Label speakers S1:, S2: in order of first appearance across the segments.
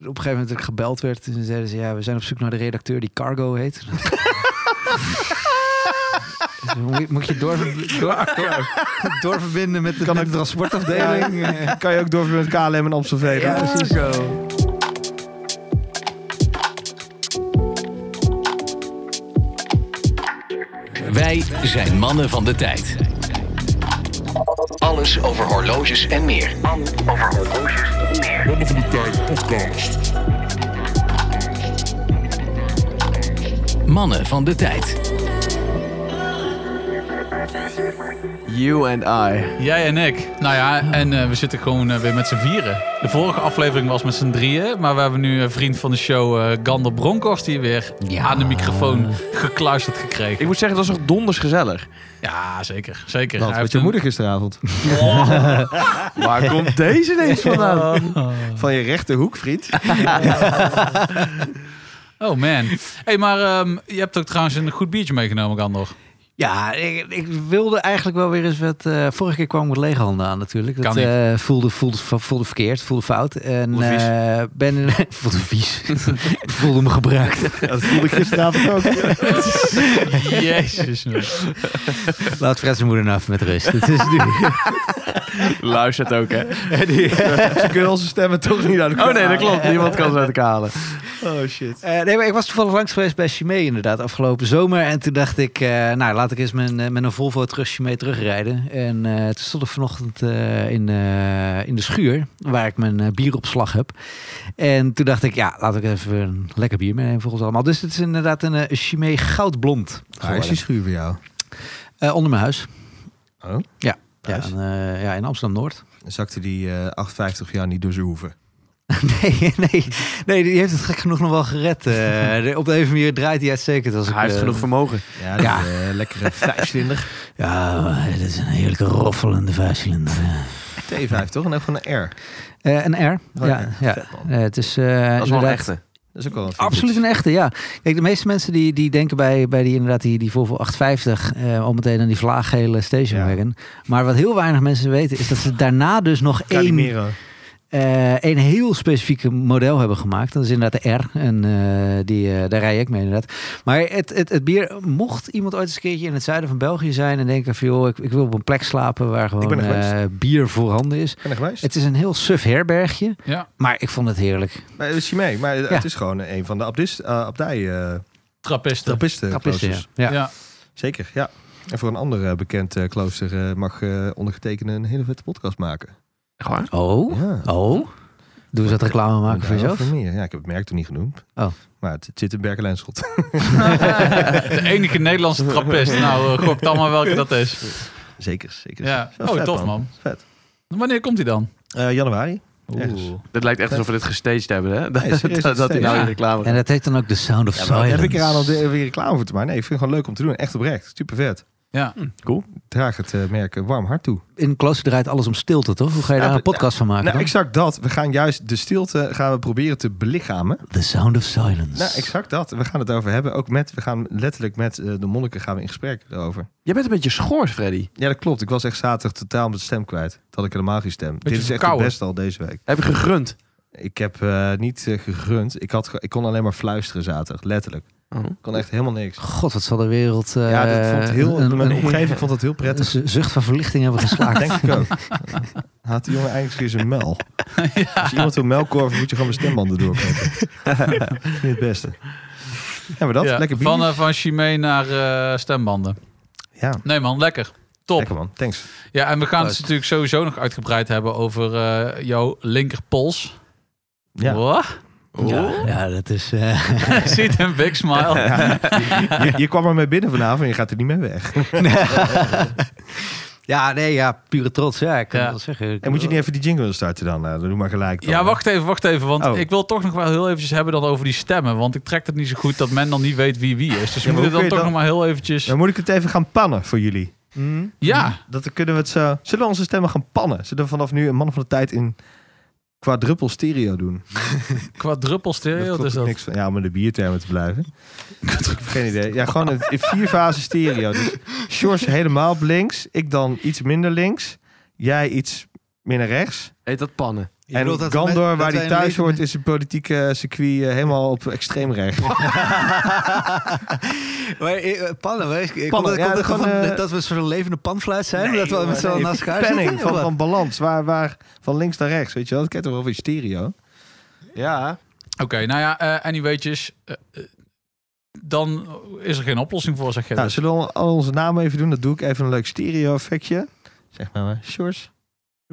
S1: Op een gegeven moment dat ik gebeld werd en zeiden ze... ja, we zijn op zoek naar de redacteur die Cargo heet. Dus moet, je- moet je door, door, door- doorverbinden met de, met de transportafdeling.
S2: Ja, kan je ook door met KLM en Amstelveen.
S1: Ja, precies.
S2: Zo.
S3: Wij zijn mannen van de tijd. Alles over horloges en meer. Mannen van de tijd.
S4: You and I.
S5: Jij en ik. Nou ja, en eh, we zitten gewoon eh, weer met z'n vieren. De vorige aflevering was met z'n drieën, maar we hebben nu een vriend van de show, eh, Gander Bronkhorst, hier weer aan de microfoon gekluisterd gekregen.
S4: Ik moet zeggen, dat is toch donders gezellig.
S5: Ja, zeker. Zeker.
S2: Dat
S5: Hij
S2: met
S5: heeft
S2: je
S5: een-
S2: moeder gisteravond.
S4: Waar komt deze ineens vandaan?
S2: Van je rechterhoek, vriend.
S5: Oh man. hey, maar ehm, je hebt ook trouwens een goed biertje meegenomen, Gander.
S1: Ja, ik, ik wilde eigenlijk wel weer eens wat... eh, vorige keer kwam ik met lege handen aan natuurlijk. Dat
S5: Kan niet.
S1: eh, voelde, voelde, voelde verkeerd, voelde fout. En
S5: Voelde vies.
S1: eh, ben... in- voelde vies. ik voelde me gebruikt.
S2: Dat voelde ik gisteravond ook.
S5: Jezus.
S1: Laat Fred zijn moeder nou even met rust. Het is nu...
S4: Luistert ook, hè?
S2: Ze kunnen onze stemmen toch niet uit elkaar
S4: Oh nee, dat klopt. Niemand kan ze uit elkaar halen.
S2: halen. Oh shit.
S1: Eh, nee, maar ik was toevallig langs geweest bij Chimé inderdaad afgelopen zomer. En toen dacht ik, eh, nou laat ik eens mijn, eh, met een Volvo terug Chimé terugrijden. En eh, toen stond ik vanochtend eh, in, eh, in de schuur waar ik mijn eh, bieropslag heb. En toen dacht ik, ja, laat ik even een lekker bier meenemen voor ons allemaal. Dus het is inderdaad een eh, Chimay goudblond
S2: Waar is
S1: geworden.
S2: die schuur bij jou?
S1: Eh, onder mijn huis.
S2: Oh.
S1: Ja, ja,
S2: Thuis?
S1: en, eh, ja in Amsterdam-Noord.
S2: Dan zakte die eh 850 jaar niet door zijn hoeven.
S1: nee, nee, nee, die heeft het gek genoeg nog wel gered. eh. de- op de even manier draait hij uitstekend. Als ik,
S4: Hij heeft
S1: eh,
S4: genoeg vermogen.
S2: Ja,
S1: Ja.
S2: die, eh, lekkere vijfcilinder.
S1: Ja, dat is een heerlijke roffelende vijfcilinder. Eh,
S2: T5 toch? En ook van een R.
S1: een R. ja,
S2: Oh, ja.
S1: ja.
S2: Vet, man.
S1: Eh, het is, eh,
S4: Dat is wel een
S1: inderdaad-
S4: echte.
S2: Dat is ook wel een
S1: Absoluut een echte, ja. Kijk, de meeste mensen die, die denken bij, bij die, inderdaad die, die Volvo 850 eh, al meteen aan die vlaaggele station
S2: Ja.
S1: wagon. Maar wat heel weinig mensen weten is dat ze daarna dus nog één,
S2: Calimero.
S1: eh, één heel specifieke model hebben gemaakt. Dat is inderdaad de R. En eh, die, eh, daar rij ik mee inderdaad. Maar het, het, het bier, mocht iemand ooit eens een keertje in het zuiden van België zijn en denken van joh, ik, ik wil op een plek slapen waar gewoon
S2: er geweest.
S1: eh, bier voorhanden is.
S2: Ben er geweest?
S1: Het is een heel suf herbergje,
S5: Ja,
S1: maar ik vond het heerlijk.
S2: Maar het is mee. Maar het
S1: Ja.
S2: is gewoon een van de abdis, eh abdij eh
S5: trappisten.
S2: trappisten.
S1: Trappisten, ja.
S2: kloosters.
S1: Ja.
S5: Ja.
S2: Zeker, ja. En voor een ander eh, bekend eh, klooster eh, mag eh, ondergetekende een hele vette podcast maken.
S4: Echt waar?
S1: Oh,
S2: Ja.
S1: oh. Doen ze dat reclame maken voor
S2: Ja,
S1: jezelf?
S2: voor meer. Ja, ik heb het merk toen niet genoemd.
S1: Oh.
S2: Maar het, het zit in Berkelijnschot.
S5: De enige Nederlandse trappist. Nou, eh, gok dan maar welke dat is.
S2: zeker, zeker.
S5: Ja.
S2: Wel
S5: Oh,
S2: vet,
S5: tof man.
S2: Vet.
S5: Wanneer komt hij dan?
S2: Eh, januari. Ergens.
S4: Dit lijkt echt alsof we dit gestaged hebben, hè? Dat,
S2: Nee, serieus,
S4: dat, dat hij nou
S5: ja.
S4: in de reclame
S1: En dat heet dan ook The Sound of
S2: maar
S1: Silence.
S2: Heb ik eraan om de- weer reclame voor te maken? Nee, ik vind het gewoon leuk om te doen. Echt oprecht. Super vet.
S5: Ja.
S1: Hm.
S2: Draag het eh, merk een warm hart toe.
S1: In Klooster draait alles om stilte, toch? Hoe ga je
S2: Ja,
S1: daar een
S2: nou,
S1: podcast van maken
S2: Nou,
S1: dan?
S2: exact dat. We gaan juist de stilte gaan we proberen te belichamen.
S1: The Sound of Silence.
S2: Nou, exact dat. We gaan het over hebben. Ook met, we gaan letterlijk met eh, de monniken gaan we in gesprek erover.
S4: Jij bent een beetje schoors, Freddy.
S2: Ja, dat klopt. Ik was echt zaterdag totaal mijn stem kwijt. Dat had ik helemaal geen stem. Dit is echt het
S5: verkouden.
S2: beste al deze week.
S4: Heb je gegrunt?
S2: Ik heb eh, niet eh, gegrund. Ik, had, ge- ik kon alleen maar fluisteren zaterdag. Letterlijk.
S4: Oh.
S2: Ik kon echt helemaal niks.
S1: God, wat zal de wereld... eh,
S2: ja, dat vond heel,
S1: een-
S2: mijn
S1: een-
S2: omgeving vond dat heel
S1: een
S2: prettig.
S1: zucht van verlichting hebben geslaagd.
S2: Denk ik ook. Haat die jongen eindelijk eens een mel. Als iemand wil melkorven, moet je gewoon mijn stembanden doorkopen. Ik vind het beste. Hebben we dat?
S5: Ja.
S2: Lekker bier.
S5: Van, eh, van Chimay naar eh, stembanden.
S2: ja,
S5: Nee man, lekker. Top.
S2: lekker man. Thanks.
S5: Ja, en we gaan het
S1: Leuk.
S5: natuurlijk sowieso nog uitgebreid hebben over eh, jouw linkerpols.
S2: Ja.
S5: Wat?
S4: Oh.
S1: Ja, ja, dat is... eh,
S5: Ziet een big smile.
S2: Je, je kwam er mee binnen vanavond en je gaat er niet mee weg.
S1: ja, nee, ja, pure trots. Ja, ik kan
S5: Ja.
S1: dat wel zeggen. Ik-
S2: En moet je niet even die jingle starten dan? Nou, dan doe maar gelijk. Dan.
S5: Ja, wacht even, wacht even. Want
S2: Oh.
S5: ik wil toch nog wel heel eventjes hebben dan over die stemmen. Want ik trek het niet zo goed dat men dan niet weet wie wie is. Dus we
S2: maar hoe
S5: moeten
S2: kun
S5: dan
S2: je
S5: toch
S2: dan-
S5: nog maar heel eventjes...
S2: Dan moet ik het even gaan pannen voor jullie.
S5: Hmm? Ja,
S2: Dat kunnen we het zo... Zullen we onze stemmen gaan pannen? Zullen we vanaf nu een man van de tijd in quadruppel stereo doen?
S5: quadruppel stereo
S2: klopt
S5: dus
S2: ook
S5: dat.
S2: niks van. Ja, om in de biertermen te blijven. Geen idee. Ja, gewoon een, in vier fasen stereo. Dus George helemaal op links. Ik dan iets minder links. Jij iets meer naar rechts.
S4: Heet dat pannen?
S1: Je
S2: en
S1: bedoelt dat we met-
S2: Gandor,
S1: dat
S2: waar
S1: wij
S2: hij
S1: een
S2: thuis
S1: leven-
S2: hoort, is een politieke eh, circuit eh, helemaal op extreem recht.
S1: Maar, eh, Pannen, weet je,
S2: Pannen,
S1: komt dat-
S2: ja,
S1: komt dat
S2: gewoon,
S1: gewoon
S2: eh,
S1: dat- dat we een soort levende panfluit zijn?
S2: Nee,
S1: dat we
S2: joh,
S1: met z'n allen
S2: nee,
S1: naast elkaar
S2: Spanning
S1: zitten? Of
S2: van,
S1: wat?
S2: van balans, waar, waar, van links naar rechts, weet je wel. Dat kent toch wel van stereo? Nou, Ja.
S5: Oké, nou ja, eh anyways. eh, eh, dan is er geen oplossing voor, zeg je.
S2: Nou,
S5: dus.
S2: zullen we al onze namen even doen? Dat doe ik even een leuk stereo effectje. Zeg maar maar, Sjors.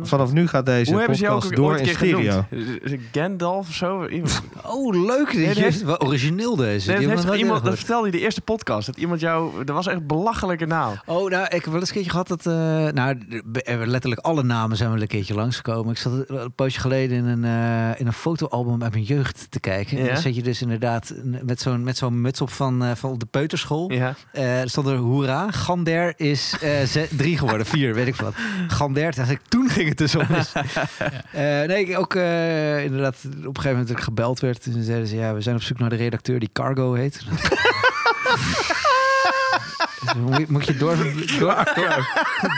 S2: Vanaf nu gaat deze
S4: Hoe hebben ze jou
S2: podcast
S4: ook
S2: door
S4: ooit een
S2: in
S4: keer
S2: stereo.
S4: genoemd? Is het Gandalf of zo? Iemand.
S1: Oh, leuk.
S4: Nee,
S1: Dit
S4: dat
S1: is wel origineel deze.
S4: Nee,
S1: Die
S4: dat,
S1: hebben
S4: heeft
S1: we nog
S4: toch
S1: nooit
S4: iemand, dat
S1: eerder
S4: vertelde je de eerste podcast. Dat iemand jou... Dat was echt een belachelijke naam.
S1: gehoord. Oh, nou, ik heb wel eens een keertje gehad dat... eh, nou, d- eh, letterlijk alle namen zijn wel een keertje langsgekomen. Ik zat een poosje geleden in een, eh, in een fotoalbum uit mijn jeugd te kijken. En
S4: Ja.
S1: dan zit je dus inderdaad met zo'n met zo'n muts op van, eh, van op de peuterschool.
S4: Ja.
S1: Eh, er stond er hoera. Gander is eh, ze- drie geworden, vier, weet ik wat. Gander, dacht ik, toen ging het dus om. Dus, eh, nee, ik ook eh, inderdaad, op een gegeven moment dat ik gebeld werd. Toen zeiden ze, ja, we zijn op zoek naar de redacteur die Cargo heet. Dus Moet- Moet je door, door, door,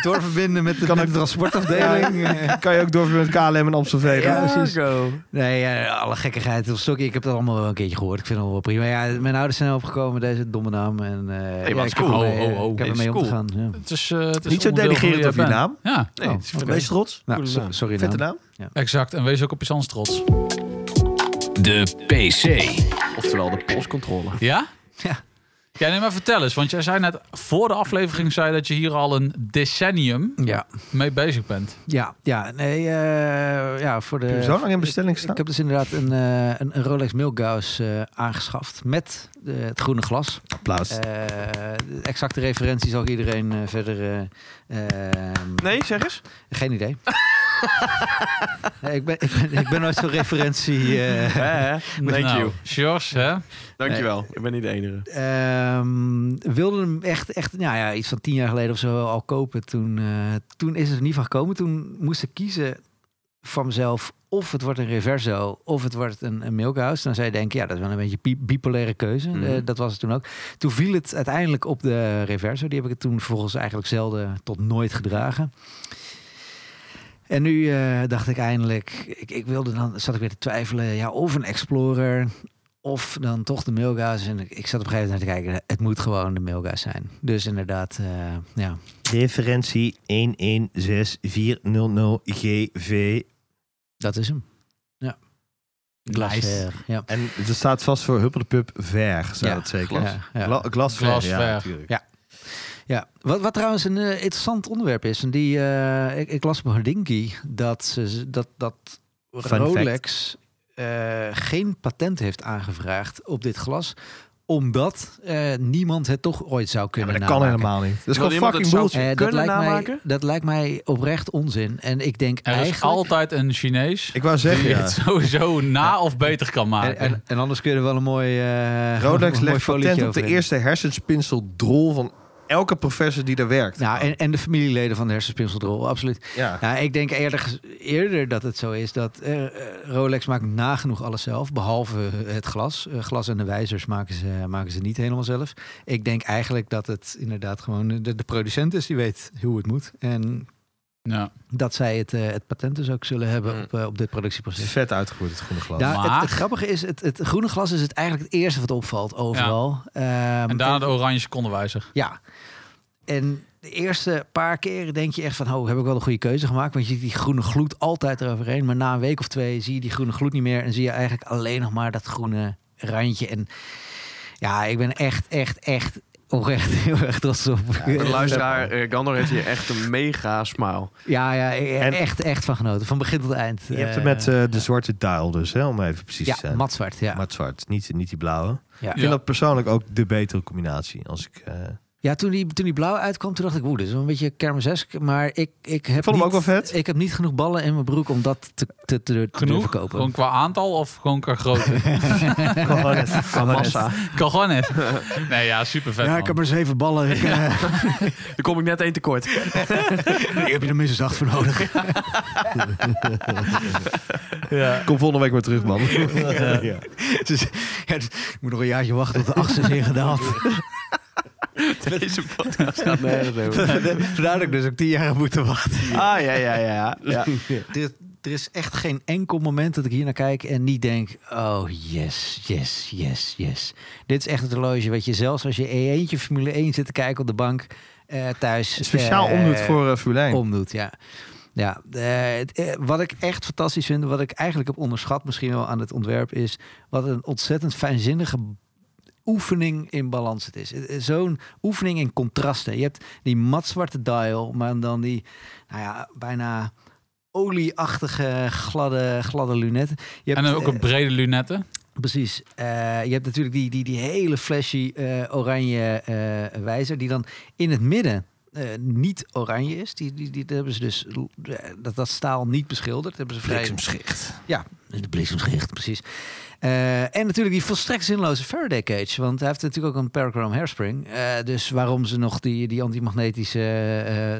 S1: doorverbinden met de,
S2: Kan
S1: met
S2: ik-
S1: de transportafdeling? Eh,
S2: Kan je ook doorverbinden met KLM en Amstelveen.
S1: Ja,
S2: hè?
S1: precies.
S4: Go.
S1: Nee, eh, alle gekkigheid op stokje. Ik heb dat allemaal wel een keerterd gehoord. Ik vind het wel prima. Ja, mijn ouders zijn opgekomen, deze domme naam. En, eh ja,
S4: maar het is
S1: ik heb
S4: cool.
S1: ermee,
S5: Ho, ho,
S1: eh,
S5: ho.
S1: Ik heb
S5: Het is
S1: ermee om te
S5: cool.
S1: gaan. Ja.
S5: Het is, eh, het is
S2: Niet zo
S5: onderdeel van wie
S2: deligerend
S5: jij
S2: over je
S5: bent.
S2: naam.
S5: Ja,
S4: Nee, het is
S1: Oh, oké.
S2: Wees trots.
S1: Nou,
S4: Goede
S1: so-
S4: naam.
S1: sorry
S2: Vette
S1: naam.
S2: naam.
S5: exact. En wees ook op iets anders trots.
S3: De PC.
S4: Oftewel de postcontrole.
S5: Ja?
S1: Ja.
S5: Ja, nee, maar vertel eens. Want jij zei net voor de aflevering zei dat je hier al een decennium
S1: Ja,
S5: mee bezig bent.
S1: ja, ja. Nee, eh, ja, voor de...
S2: Heb je zo lang in bestelling staan?
S1: Ik heb dus inderdaad een, eh, een, een Rolex Milgauss eh, aangeschaft met eh, het groene glas.
S2: applaus.
S1: Eh, de exacte referentie zal ik iedereen eh, verder... eh, eh,
S4: Nee, zeg eens.
S1: Geen idee. Nee, ik, ben, ik, ben, ik ben nooit zo'n referentie... eh,
S4: Thank
S5: Nou,
S4: you.
S5: Sjors, hè?
S4: Dankjewel. Ik ben niet de enige.
S1: Eh, Ehm, wilde hem echt, echt nou ja, iets van tien jaar geleden of zo al kopen. Toen, eh, toen is het er niet van gekomen. Toen moest ik kiezen van mezelf of het wordt een Reverso of het wordt een, een Milkhouse. Dan zou je denken, ja, dat is wel een beetje bi- bipolaire keuze.
S4: Mhm.
S1: Eh, dat was het toen ook. Toen viel het uiteindelijk op de Reverso. Die heb ik het toen vervolgens eigenlijk zelden tot nooit gedragen. En nu eh, dacht ik eindelijk, ik, ik wilde dan, zat ik weer te twijfelen, ja, of een Explorer, of dan toch de Milga's. En ik, ik zat op een gegeven moment naar te kijken, het moet gewoon de Milga's zijn. Dus inderdaad, eh, ja.
S2: Referentie 116400GV.
S1: Dat is hem. Ja.
S5: Nice.
S1: Glasver, Ja.
S2: En het staat vast voor Huppeldepup ver, zou
S1: Ja,
S2: dat zeker.
S1: ja, ja.
S2: Gla- glasver,
S5: Glasver.
S2: ja, natuurlijk.
S1: ja. Wat, wat trouwens een eh, interessant onderwerp is. En die, eh, ik, ik las op Hardinki dat, ze- dat, dat
S2: Fun
S1: Rolex eh, geen patent heeft aangevraagd op dit glas omdat eh, niemand het toch ooit zou
S2: Ja,
S1: kunnen
S2: maar dat kan
S1: namaken.
S2: helemaal niet. Dat is
S4: Wil
S2: gewoon
S4: iemand het
S2: fucking
S4: zout-
S2: bullshit.
S1: Eh, dat,
S4: Kunnen
S1: lijkt mij,
S4: namaken?
S1: dat lijkt mij oprecht onzin. En ik denk
S5: Er is
S1: eigenlijk...
S5: altijd een Chinees
S2: Ik wou
S5: die
S2: zeggen, ja.
S5: het sowieso na of beter kan
S1: En,
S5: maken.
S1: en, en anders kun je er wel een mooi eh
S2: Rolex
S1: een mooi
S2: legt
S1: folietje
S2: patent op de
S1: overheen.
S2: eerste hersenspinseldrol van elke professor die daar werkt.
S1: Nou, en, en de familieleden van de hersenspinseldrol, absoluut.
S2: ja.
S1: Ja, ik denk eerder, ges- eerder dat het zo is dat eh, eh, Rolex maakt nagenoeg alles zelf, behalve het glas. Eh, glas en de wijzers maken ze, maken ze niet helemaal zelf. Ik denk eigenlijk dat het inderdaad gewoon de, de producent is die weet hoe het moet. En
S5: Ja.
S1: dat zij het, eh, het patent dus ook zullen hebben
S4: Mm.
S1: op, eh, op dit
S2: Het is
S1: productieproces.
S2: vet uitgevoerd, het groene glas.
S1: Ja, het,
S5: Hmm. Maar-
S1: het grappige is, het, het groene glas is het eigenlijk het eerste wat opvalt overal. Ehm,
S5: En daarna de oranje secondenwijzer.
S1: Ja. En de eerste paar keren denk je echt van, oh, heb ik wel de goede keuze gemaakt? Want je ziet die groene gloed altijd eroverheen. Maar na een week of twee zie je die groene gloed niet meer. En zie je eigenlijk alleen nog maar dat groene randje. En ja, ik ben echt, echt, echt oprecht heel erg trots op.
S4: Voor de luisteraar, eh, Gandor heeft hier echt een mega smile.
S1: Ja, ja, e-
S2: En-
S1: echt, echt van genoten. Van begin tot eind.
S2: Je hebt het met eh, de zwarte duil dus, hè, om even precies
S1: ja,
S2: te zijn.
S1: matzwart, ja.
S2: Maar zwart, niet, niet die blauwe.
S1: ja.
S2: Ik vind dat persoonlijk ook de betere combinatie. Als ik, eh,
S1: Ja, toen die, toen die blauw uitkwam, toen dacht ik, oeh, dit is wel een beetje kermisesk. Maar ik, ik heb
S2: vond hem
S1: niet,
S2: ook wel vet.
S1: Ik heb niet genoeg ballen in mijn broek om dat te, te, te, te
S5: Genoeg?
S1: durven kopen.
S5: Gewoon qua aantal of gewoon qua grootte?
S4: Massa.
S5: kan gewoon net. Nee, ja, super vet. man.
S1: maar zeven ballen. Ik, eh,
S4: Daar kom ik net één tekort.
S1: heb je er minstens acht voor nodig.
S2: Kom volgende week weer terug, man. eh, ja.
S1: ik moet nog een jaartje wachten tot de achtste is ingedaald.
S4: Deze podcast gaat nergens over.
S1: Vandaar dat ik dus ook tien jaar heb moeten wachten.
S4: Ah, ja, ja, ja. ja.
S1: Dit, er is echt geen enkel moment dat ik hier naar kijk en niet denk: oh yes, yes, yes, yes. Dit is echt het horloge. Weet je, zelfs als je in eentje Formule 1 zit te kijken op de bank eh, thuis.
S2: Speciaal
S1: eh,
S2: omdoet voor eh Fulijn.
S1: Omdoet, ja. Ja, eh, het, eh, wat ik echt fantastisch vind, wat ik eigenlijk heb onderschat misschien wel aan het ontwerp, is wat een ontzettend fijnzinnige oefening in balans het is. Eh, eh, Zo'n oefening in contrasten. Je hebt die matzwarte dial, maar dan die nou ja, bijna olieachtige gladde, gladde lunetten. Je
S5: En
S1: hebt,
S5: dan ook
S1: eh,
S5: een brede lunette.
S1: Precies. Eh, je hebt natuurlijk die, die, die hele flashy eh, oranje eh, wijzer, die dan in het midden eh, niet oranje is. Die, die, die, dat hebben ze dus eh, dat, dat staal niet beschilderd. Dat hebben ze vrij
S2: Bliksemschicht.
S1: ja, de bliksemschicht, precies. Eh, en natuurlijk die volstrekt zinloze Faraday cage. Want hij heeft natuurlijk ook een Parachrome hairspring. Eh, dus waarom ze nog die, die antimagnetische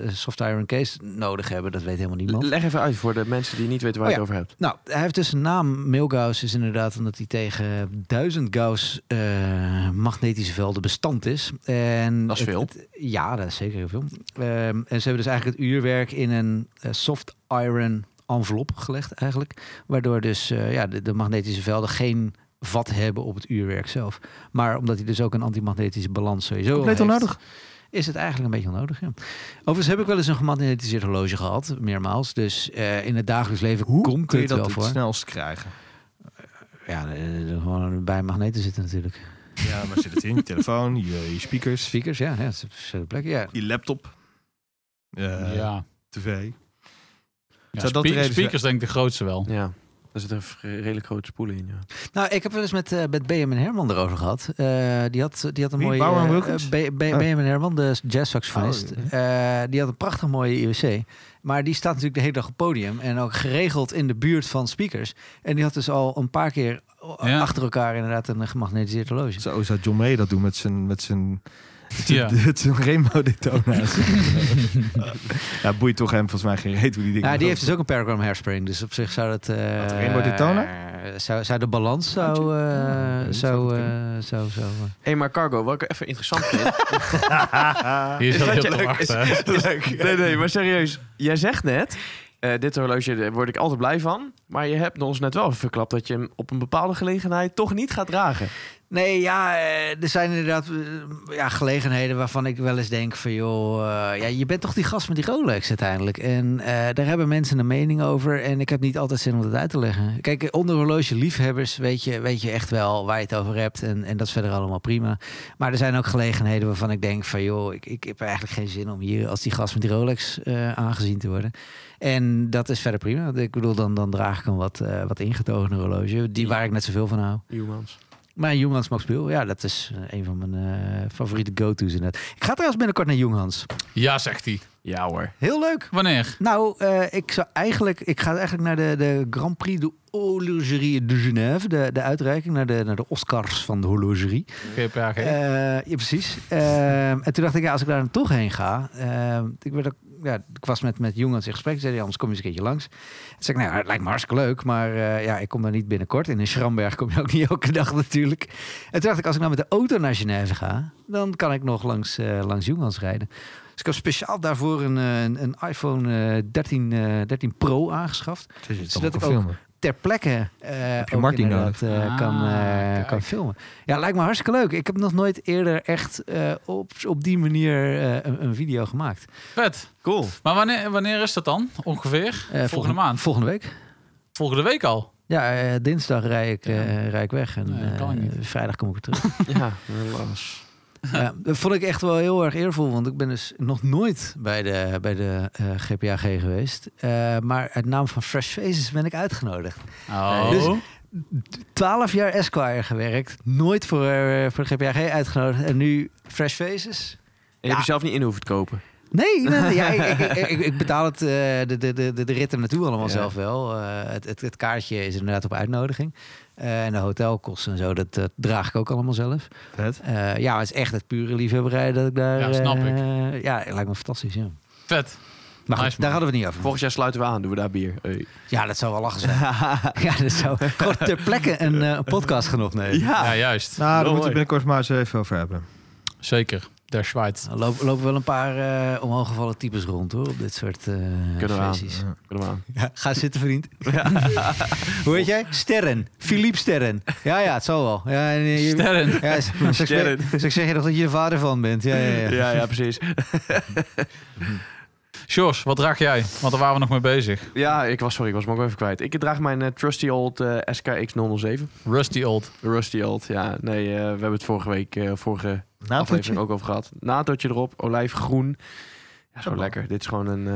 S1: eh, soft iron case nodig hebben, dat weet helemaal niemand.
S4: Leg even uit voor de mensen die niet weten waar
S1: Oh
S4: je het over hebt.
S1: Nou, hij heeft dus een naam. Milgauss is inderdaad omdat hij tegen duizend Gauss eh, magnetische velden bestand is. En
S4: Dat is
S1: het-
S4: veel.
S1: het- ja, dat is zeker heel veel. Ehm, en ze hebben dus eigenlijk het uurwerk in een eh, soft iron envelop gelegd eigenlijk. Waardoor dus eh, ja, de, de magnetische velden geen vat hebben op het uurwerk zelf. Maar omdat hij dus ook een antimagnetische balans sowieso al
S2: Compleet
S1: heeft,
S2: onnodig.
S1: is het eigenlijk een beetje onnodig. Ja. Overigens heb ik wel eens een gemagnetiseerd horloge gehad, meermaals. Dus eh, in het dagelijks leven komt
S2: Kun je
S1: het
S2: dat
S1: wel
S2: het
S1: voor.
S2: snelst krijgen?
S1: Ja, eh, eh, gewoon bij magneten zitten natuurlijk.
S2: Ja, maar zit het in? Je telefoon, je, je speakers,
S1: Speakers, ja, ja dat is op verschillende plekken. Ja.
S2: je laptop, eh,
S5: ja.
S2: tv.
S5: Ja,
S2: Zou dat de
S5: spe-
S2: reden zijn?
S5: speakers denk ik de grootste wel.
S4: Ja, daar zit een v- redelijk grote spoel in. Ja.
S1: Nou, ik heb wel eens met, eh met Benjamin Herman erover gehad. Eh, die, had, die had een
S2: Wie?
S1: mooie...
S2: Bauer en
S1: eh,
S2: Wilkins?
S1: eh, Be- Be-
S2: Ah.
S1: Benjamin Herman, de jazzsaxofonist.
S2: Oh,
S1: Eh, die had een prachtig mooie IWC. Maar die staat natuurlijk de hele dag op het podium. En ook geregeld in de buurt van speakers. En die had dus al een paar keer o-
S5: Ja.
S1: achter elkaar inderdaad een gemagnetiseerd horloge.
S2: Zo zou John May dat doen met zijn, met zijn,
S5: Ja.
S2: met zijn rainbow detonatie. ja, boeit toch hem volgens mij geen reet hoe die dingen
S1: Ja, die heeft dus ook een Paragram hairspring. Dus op zich zou dat... eh,
S2: Wat, Rainbow Daytona?
S1: eh, zou, zou de balans zou... eh,
S2: dat
S1: zou,
S2: zou
S1: eh, zou, zou eh,
S4: Hé, maar Cargo, wat ik even interessant vind...
S5: Hier zat heel te
S4: Is-
S5: wachten.
S4: is- nee, nee, maar serieus. Jij zegt net, eh, dit horloge daar word ik altijd blij van. Maar je hebt ons net wel even verklapt dat je hem op een bepaalde gelegenheid toch niet gaat dragen.
S1: Nee, ja, eh, er zijn inderdaad eh, ja, gelegenheden waarvan ik wel eens denk van... joh, eh, ja, je bent toch die gast met die Rolex uiteindelijk. En eh, daar hebben mensen een mening over. En ik heb niet altijd zin om dat uit te leggen. Kijk, onder horloge liefhebbers weet je, weet je echt wel waar je het over hebt. En, en dat is verder allemaal prima. Maar er zijn ook gelegenheden waarvan ik denk van... joh, ik, ik heb eigenlijk geen zin om hier als die gast met die Rolex eh, aangezien te worden. En dat is verder prima. Ik bedoel, dan, dan draag ik een wat, eh, wat ingetogen horloge. Die waar ik net zoveel van hou.
S4: Humans.
S1: Maar Jonghans Max Biel, ja, dat is eh, een van mijn eh, favoriete go-to's inderdaad. Ik ga trouwens binnenkort naar Jonghans.
S5: Ja, zegt hij.
S4: Ja hoor.
S1: Heel leuk.
S5: Wanneer?
S1: Nou, eh, ik zou eigenlijk, ik ga eigenlijk naar de, de Grand Prix de Horlogerie de Genève, de, de uitreiking naar de, naar de Oscars van de horlogerie.
S5: GPAG.
S1: Eh, ja, precies. Ehm, en toen dacht ik, ja, als ik daar dan toch heen ga. ehm, ik, werd ook, ja, ik was met, met jongens in gesprek. Ze zeiden, ja, anders kom je eens een keertje langs. Toen zei ik, nou, ja, het lijkt me hartstikke leuk. Maar eh, ja, ik kom daar niet binnenkort. En in Schramberg kom je ook niet elke dag natuurlijk. En toen dacht ik, als ik nou met de auto naar Genève ga... dan kan ik nog langs, eh langs Jongens rijden. Dus ik heb speciaal daarvoor een, eh, een, een iPhone eh, 13, eh, 13 Pro aangeschaft zodat ik ook ter plekke eh
S2: je
S1: ook
S2: Martin
S1: inderdaad, eh,
S5: Ah,
S1: kan, eh,
S5: kijk.
S1: kan filmen. Ja, lijkt me hartstikke leuk. Ik heb nog nooit eerder echt eh, op, op die manier eh, een, een video gemaakt. Eh,
S5: Vet.
S4: Cool.
S5: Maar wanneer, wanneer is dat dan? Ongeveer? volgende, maand?
S1: Volgende week.
S5: Volgende week al?
S1: Ja, eh, dinsdag rij ik, eh, rij ik weg en
S5: Nee, dat kan
S1: eh,
S5: ik niet.
S1: vrijdag kom ik weer terug.
S4: Ja, helaas.
S1: ja, dat vond ik echt wel heel erg eervol, want ik ben dus nog nooit bij de, bij de eh, GPAG geweest. Eh, maar uit naam van Fresh Faces ben ik uitgenodigd.
S5: Oh.
S1: Dus- 12 jaar Esquire gewerkt. Nooit voor, eh, voor GPAG uitgenodigd. En nu Fresh Faces.
S4: En je hebt jezelf niet in hoeven te kopen.
S1: Nee, nee, nee, ja, ik, ik, ik, ik betaal het, eh, de, de, de, de rit er naartoe allemaal
S4: Ja.
S1: zelf wel. Eh, het, het, het kaartje is inderdaad op uitnodiging. Eh, en de hotelkosten en zo, dat, dat draag ik ook allemaal zelf.
S2: Vet.
S1: Eh, ja, maar het is echt het pure liefhebberij dat ik daar...
S5: Ja, snap ik.
S1: eh, ja, het lijkt me fantastisch, ja.
S5: Vet.
S1: Maar goed,
S5: Nice, man.
S1: daar hadden we het niet over.
S4: Volgend jaar sluiten we aan, doen we daar bier. Eh, Hey.
S1: Ja, dat zou wel lachen zijn. ja, dat zou gewoon ter plekke een eh, een podcast gaan opnemen.
S4: Ah.
S5: Ja, juist.
S2: Nou, daar
S4: Wel
S2: moeten we
S4: mooi.
S2: binnenkort maar eens even over hebben.
S5: Zeker. der Schweiz.
S1: Er lopen, lopen wel een paar eh omhooggevallen types rond hoor, op dit soort eh
S4: Kunnen we aan.
S1: feestjes.
S4: Doe maar aan.
S1: Ja, ga zitten, vriend. Hoe heet jij? Sterren. Philippe Sterren. Ja, ja, het zal wel. Ja, en, eh, je-
S5: Sterren.
S1: Ja, s- straks
S4: Sterren.
S1: zeg- straks zeg je nog dat je de vader van bent. Ja, ja, ja.
S4: Ja, ja, precies.
S5: Sjors, wat draag jij? Want daar waren we nog mee bezig.
S4: Ja, ik was, sorry, ik was me ook even kwijt. Ik draag mijn eh, trusty old eh, SKX007.
S5: Rusty Old.
S4: Rusty old, ja. Nee, eh, we hebben het vorige week, eh, vorige aflevering
S1: Natootje?
S4: ook over gehad. Natootje erop, olijfgroen. Ja, zo
S1: Oh.
S4: lekker. Dit is gewoon een,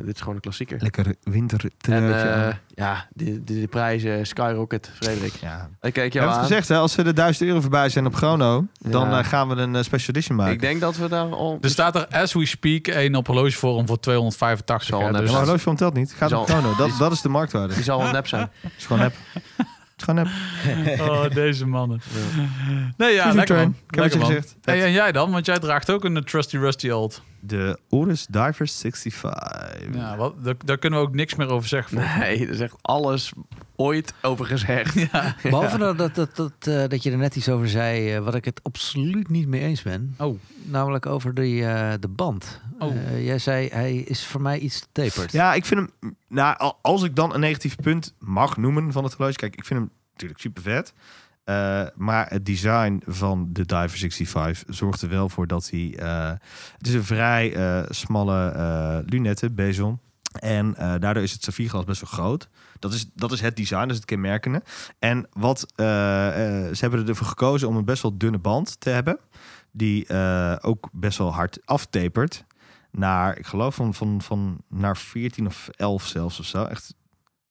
S4: eh, dit is gewoon een klassieker.
S2: Lekker winter.
S4: En eh, ja, de, de, de prijzen skyrocket, Frederik.
S2: ja.
S4: Ik kijk
S2: We
S4: jou
S2: hebben
S4: aan.
S2: het gezegd, hè, als we de 1000 euro voorbij zijn op Chrono, dan
S4: Ja.
S2: eh, gaan we een eh, special edition maken.
S4: ik denk dat we daar al...
S5: Er staat er, as we speak, één op horlogevorm voor 285.
S4: Zal
S5: hè,
S4: net
S2: Ja,
S5: dus
S2: maar horloge van telt niet. Gaat
S4: Zal-
S2: op Chrono.
S4: is-
S2: Dat, dat is de marktwaarde.
S4: Die
S2: Het
S4: zal wel nep zijn.
S2: is gewoon nep. Het is gewoon nep.
S5: oh, deze mannen. Nee, ja, lekker man.
S2: Ik heb het
S5: Lekker
S2: je
S5: man.
S2: gezegd.
S5: Hey, en jij dan? Want jij draagt ook een Trusty Rusty Old.
S2: De Oris Diver 65.
S5: Ja, wat, daar, daar kunnen we ook niks meer over zeggen. volgens mij.
S4: Nee, er is echt alles ooit over gezegd.
S5: Ja.
S1: Behalve dat, dat, dat, dat, eh, dat je er net iets over zei, eh, wat ik het absoluut niet mee eens ben.
S5: Oh.
S1: Namelijk over die, eh, de band.
S5: Oh.
S1: Eh, jij zei, hij is voor mij iets te taperd.
S2: Ja, ik vind hem. Nou, al- als ik dan een negatief punt mag noemen van het horloge. Kijk, ik vind hem natuurlijk super vet. Eh, maar het design van de Diver 65 zorgt er wel voor dat hij. eh, het is een vrij eh, smalle eh lunette, bezon. En eh, daardoor is het saffierglas best wel groot. Dat is, dat is het design, dat is het kenmerkende. En wat eh, eh, ze hebben ervoor gekozen om een best wel dunne band te hebben. Die eh, ook best wel hard aftapert naar, ik geloof van, van, van naar 14 of 11 zelfs of zo. Echt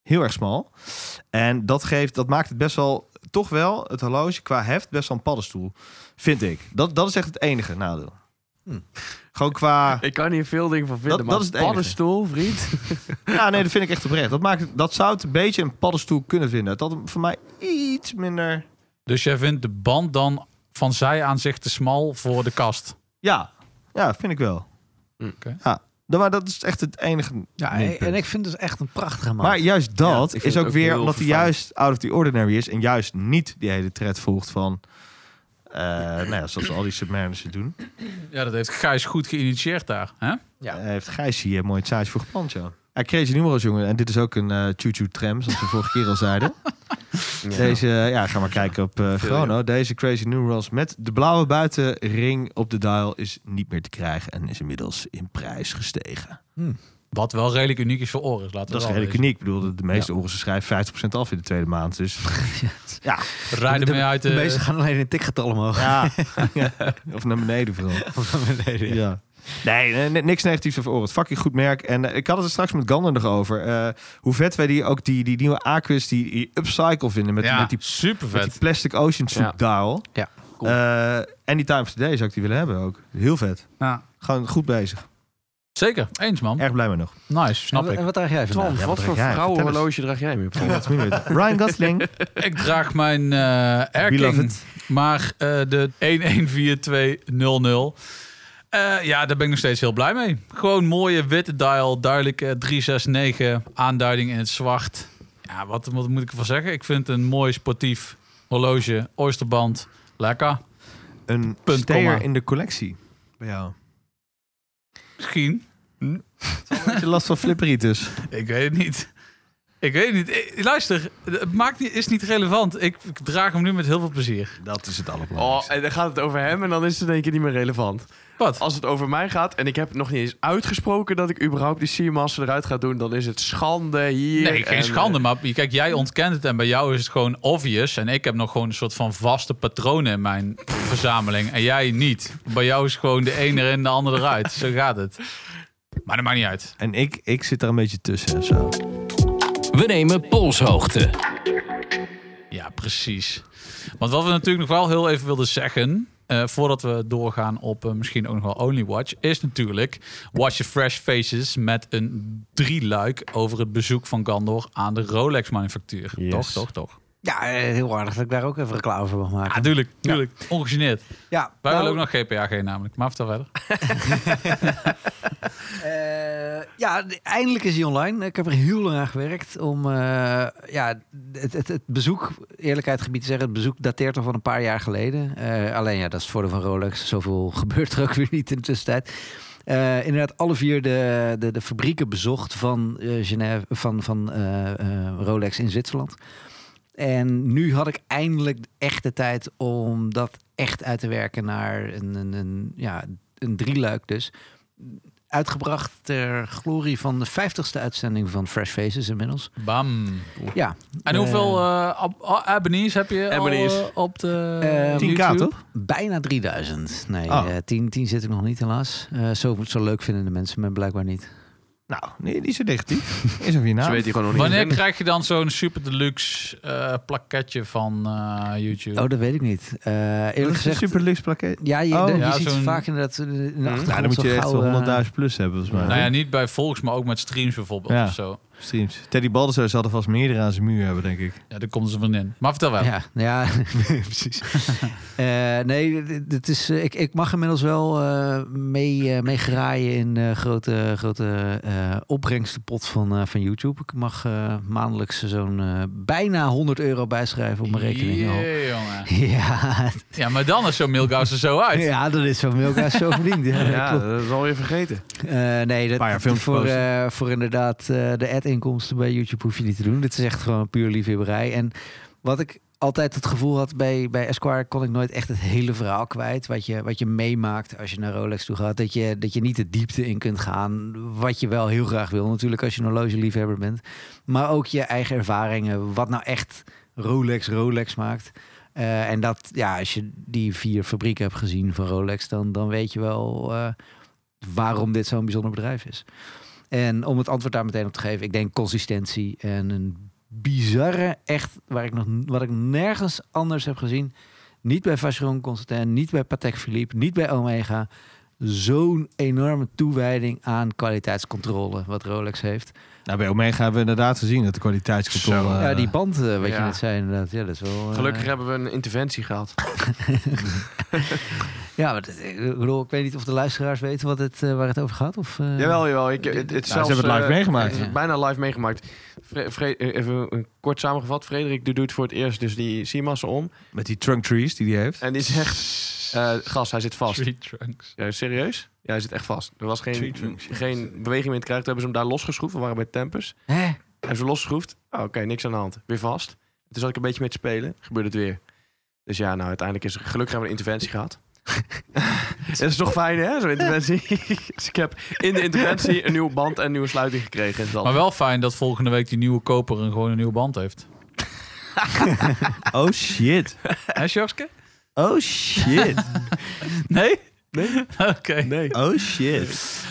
S2: heel erg smal. En dat geeft, dat maakt het best wel, toch wel, het horloge qua heft best wel een paddenstoel. Vind ik. Dat, dat is echt het enige nadeel.
S1: Hm.
S2: Gewoon qua.
S4: Ik kan hier veel dingen van vinden,
S2: Dat-
S4: maar
S2: dat is het enige.
S4: paddenstoel, vriend.
S2: Ja, nee, dat vind ik echt oprecht. Dat, maakt, het- dat zou het een beetje een paddenstoel kunnen vinden. Dat had hem voor mij iets minder.
S5: Dus jij vindt de band dan van zij aan zich te smal voor de kast?
S2: Ja, ja vind ik wel.
S4: Hm.
S5: Oké.
S2: Ja, dat- maar dat is echt het enige.
S1: Ja,
S2: minpunt.
S1: en ik vind het dus echt een prachtige man.
S2: Maar juist dat
S4: ik vind
S2: is
S4: het
S2: ook,
S4: ook
S2: weer
S4: heel
S2: omdat hij
S4: verfijnd.
S2: juist out of the ordinary is en juist niet die hele tred volgt van. eh nou ja, zoals al die submariners het doen.
S5: Ja, dat heeft Gijs goed geïnitieerd daar. Hè?
S1: Ja.
S2: Eh, heeft Gijs hier mooi het sausje voor gepland, ja. Hij kreeg je nummers, jongen. En dit is ook een eh choo-choo tram, zoals we vorige keer al zeiden. Deze, eh, ja, ga maar kijken op eh Chrono. Deze Crazy Numerals met de blauwe buitenring op de dial is niet meer te krijgen. En is inmiddels in prijs gestegen.
S5: Wat wel redelijk uniek is voor Oris. Laten we
S2: Dat is
S5: wel
S2: redelijk
S5: wezen.
S2: uniek. Ik bedoel, de- de meeste oren schrijven 50% af in de tweede maand. Dus ja,
S5: Rijden mee uit eh, de...
S1: De meesten gaan alleen in tikgetal omhoog.
S2: Ja. Of naar beneden vooral. Ja. Nee, nee, nee, niks negatiefs over Oren. Fucking goed merk. En eh, ik had het er straks met Gander nog over. Eh, hoe vet wij die ook die, die nieuwe Aquas die, die upcycle vinden met,
S5: ja,
S2: met, die,
S5: super
S2: met die
S5: vet.
S2: plastic ocean
S4: Ja.
S2: soup dial.
S1: Ja,
S4: cool.
S2: Eh, Any time of the day zou ik die willen hebben ook. Heel vet.
S5: Ja.
S2: Gewoon goed bezig.
S5: Zeker, eens man.
S2: Erg blij mee nog.
S5: Nice, snap
S1: en, wa-
S5: ik.
S1: En wat draag jij vandaag?
S4: Twan,
S2: ja,
S4: wat
S2: wat
S4: voor
S2: draag jij?
S4: vrouwenhorloge draag jij nu? Paul?
S2: Laat me weten. Ryan Gosling.
S5: Ik draag mijn eh
S2: We love
S5: Erking,
S2: it.
S5: maar eh, de 114200. Eh ja, daar ben ik nog steeds heel blij mee. Gewoon mooie witte dial, eh, duidelijke 369, aanduiding in het zwart. Ja, wat, wat moet ik ervan zeggen? Ik vind het een mooi sportief horloge, oysterband, lekker.
S2: Een
S5: Punt,
S2: steer
S5: komma.
S2: in de collectie. Bij jou.
S5: Misschien,
S2: Had je last van flipperitis?
S5: ik weet het niet. Ik weet het niet. Eh, luister, het maakt niet, is niet relevant. Ik, ik draag hem nu met heel veel plezier.
S2: Dat is het
S4: Oh,
S2: allerbelangrijkste.
S4: en dan gaat het over hem en dan is het in één keer niet meer relevant.
S5: Wat?
S4: Als het over mij gaat en ik heb nog niet eens uitgesproken dat ik überhaupt die Seamaster eruit ga doen, dan is het schande hier.
S5: Nee, geen
S4: en- eh,
S5: schande, maar kijk, jij ontkent het en bij jou is het gewoon obvious. En ik heb nog gewoon een soort van vaste patronen in mijn verzameling. En jij niet. Bij jou is gewoon de ene erin, de ander eruit. Zo gaat het. Maar dat maakt niet uit.
S2: En ik, ik zit er een beetje tussen en zo.
S3: We nemen polshoogte.
S5: Ja, precies. Want wat we natuurlijk nog wel heel even wilden zeggen. eh, voordat we doorgaan op eh, misschien ook nog wel Only Watch. Is natuurlijk Watch the Fresh Faces met een drieluik over het bezoek van Gandor aan de Rolex-manufactuur.
S2: Yes.
S5: Toch, toch, toch.
S1: Ja, eh, heel aardig dat ik daar ook even reclame voor mag maken.
S5: natuurlijk, tuurlijk. Ongegeneerd.
S1: Ja,
S5: Wij
S1: nou,
S5: willen ook nog GPAG namelijk. Maar vertel verder.
S1: Eh, ja, de- eindelijk is hij online. Ik heb er heel lang aan gewerkt om eh, ja, het, het, het bezoek, eerlijkheid gebied te zeggen, het bezoek dateert nog van een paar jaar geleden. Eh, alleen ja, dat is het voordeel van Rolex. Zoveel gebeurt er ook weer niet in de tussentijd. Eh, inderdaad, alle vier de, de, de fabrieken bezocht van, eh, Genève, van, van eh, eh, Rolex in Zwitserland. En nu had ik eindelijk echt de tijd om dat echt uit te werken naar een, een, een, ja, een drieluik dus uitgebracht ter glorie van de 50ste uitzending van Fresh Faces inmiddels.
S5: Bam.
S1: Ja.
S5: En
S1: Eh,
S5: hoeveel eh, ab- a- abonnees heb je al,
S4: Abonnees.
S5: eh, op de
S1: Eh,
S2: 10k,
S5: YouTube?
S2: toch?
S1: Bijna 3000. Nee,
S2: Oh.
S1: eh, 10, 10 zit ik nog niet helaas. Eh, zo, zo leuk vinden de mensen me blijkbaar niet.
S2: Nou, nee, niet zo negatief. Is over je
S4: Ze
S2: naam.
S4: weten gewoon nog niet.
S5: Wanneer krijg je dan zo'n super deluxe eh plakketje van eh, YouTube?
S1: Oh, dat weet ik niet. Eh,
S2: Dat
S1: eerlijk
S2: is een
S1: gezegd...
S2: super luxe plakket.
S1: Ja, je,
S2: Oh.
S1: de- je
S5: Ja,
S1: ziet
S5: zo'n-
S1: vaak inderdaad eh, in de
S2: Nou, dan
S1: achtergrond
S2: moet je
S1: zo'n
S2: echt
S1: gouden-
S2: wel 100.000 plus hebben, volgens mij.
S5: nou ja, niet bij volks, maar ook met streams bijvoorbeeld
S2: Ja.
S5: of zo.
S2: Streams. Teddy Baldassar zal er vast meerdere aan zijn muur hebben, denk ik.
S5: Ja, daar komt ze van in. Maar vertel wel.
S1: Ja, ja precies. Eh, nee, dit- dit is, eh, ik, ik mag inmiddels wel eh, mee, eh, mee graaien in de grote, grote eh, opbrengstenpot van, eh, van YouTube. Ik mag eh, maandelijks zo'n eh, bijna 100 euro bijschrijven op mijn rekening. al.
S5: Jee, jongen.
S1: Ja,
S5: Ja, maar dan is zo'n Milgaus er zo uit.
S1: ja, dat is zo'n Milka zo verdiend. Ja, dat
S4: Ja,
S1: klopt.
S4: dat is alweer vergeten.
S1: Eh, nee, dat,
S2: Paar jaar filmpjes
S1: voor,
S2: posten.
S1: eh, voor inderdaad eh, de ad-inkomsten bij YouTube hoef je niet te doen. Dit is echt gewoon puur liefhebberij. En wat ik altijd het gevoel had bij, bij Esquire, kon ik nooit echt het hele verhaal kwijt. Wat je, wat je meemaakt als je naar Rolex toe gaat. Dat je, dat je niet de diepte in kunt gaan. Wat je wel heel graag wil natuurlijk als je een horlogeliefhebber bent. Maar ook je eigen ervaringen. Wat nou echt Rolex Rolex maakt. Eh, en dat, ja, als je die vier fabrieken hebt gezien van Rolex, dan, dan weet je wel eh, waarom dit zo'n bijzonder bedrijf is. En om het antwoord daar meteen op te geven, ik denk consistentie en een bizarre, echt, waar ik nog, wat ik nergens anders heb gezien. Niet bij Vacheron Constantin, niet bij Patek Philippe, niet bij Omega. Zo'n enorme toewijding aan kwaliteitscontrole wat Rolex heeft.
S2: Nou, bij Omega hebben we inderdaad gezien dat de kwaliteitscontrole...
S4: Zo.
S2: eh,
S1: ja, die band, eh, wat je
S4: ja.
S1: net zei inderdaad. Ja, dat is wel, eh,
S4: Gelukkig hebben we een interventie gehad.
S1: Ja, maar dat- ik bedoel, ik weet niet of de luisteraars weten wat het, eh, waar het over gaat. Of, eh,
S4: Jawel, jawel. Ik, het, het
S2: ze hebben het live
S4: eh,
S2: meegemaakt.
S4: het is bijna live meegemaakt. Fre- Fre- eh, even eh, kort samengevat. Frederik doet het voor het eerst, dus die Siemens om.
S2: Met die trunk trees die die heeft.
S4: En die zegt, eh gast, hij zit vast.
S5: Street Trunks.
S4: Ja, serieus? Ja, hij zit echt vast. Er was
S2: Tree
S4: geen,
S2: trunks, ja.
S4: geen beweging meer te krijgen. Toen hebben ze hem daar losgeschroefd. We waren bij Tempers.
S1: Hè?
S4: Hebben ze losgeschroefd. Oh, Oké, niks aan de hand. Weer vast. Toen zat ik een beetje mee te spelen. Gebeurde het weer. Dus ja, nou, uiteindelijk is er gelukkig hebben we een interventie gehad. Dat is toch fijn, hè, zo'n interventie? dus ik heb in de interventie een nieuwe band en een nieuwe sluiting gekregen. Dat.
S5: Maar wel fijn dat volgende week die nieuwe koper een, gewoon een nieuwe band heeft.
S2: Oh shit.
S5: Hè, Sjorske?
S2: Oh shit.
S5: Nee? Oké.
S4: Nee.
S2: Oh shit.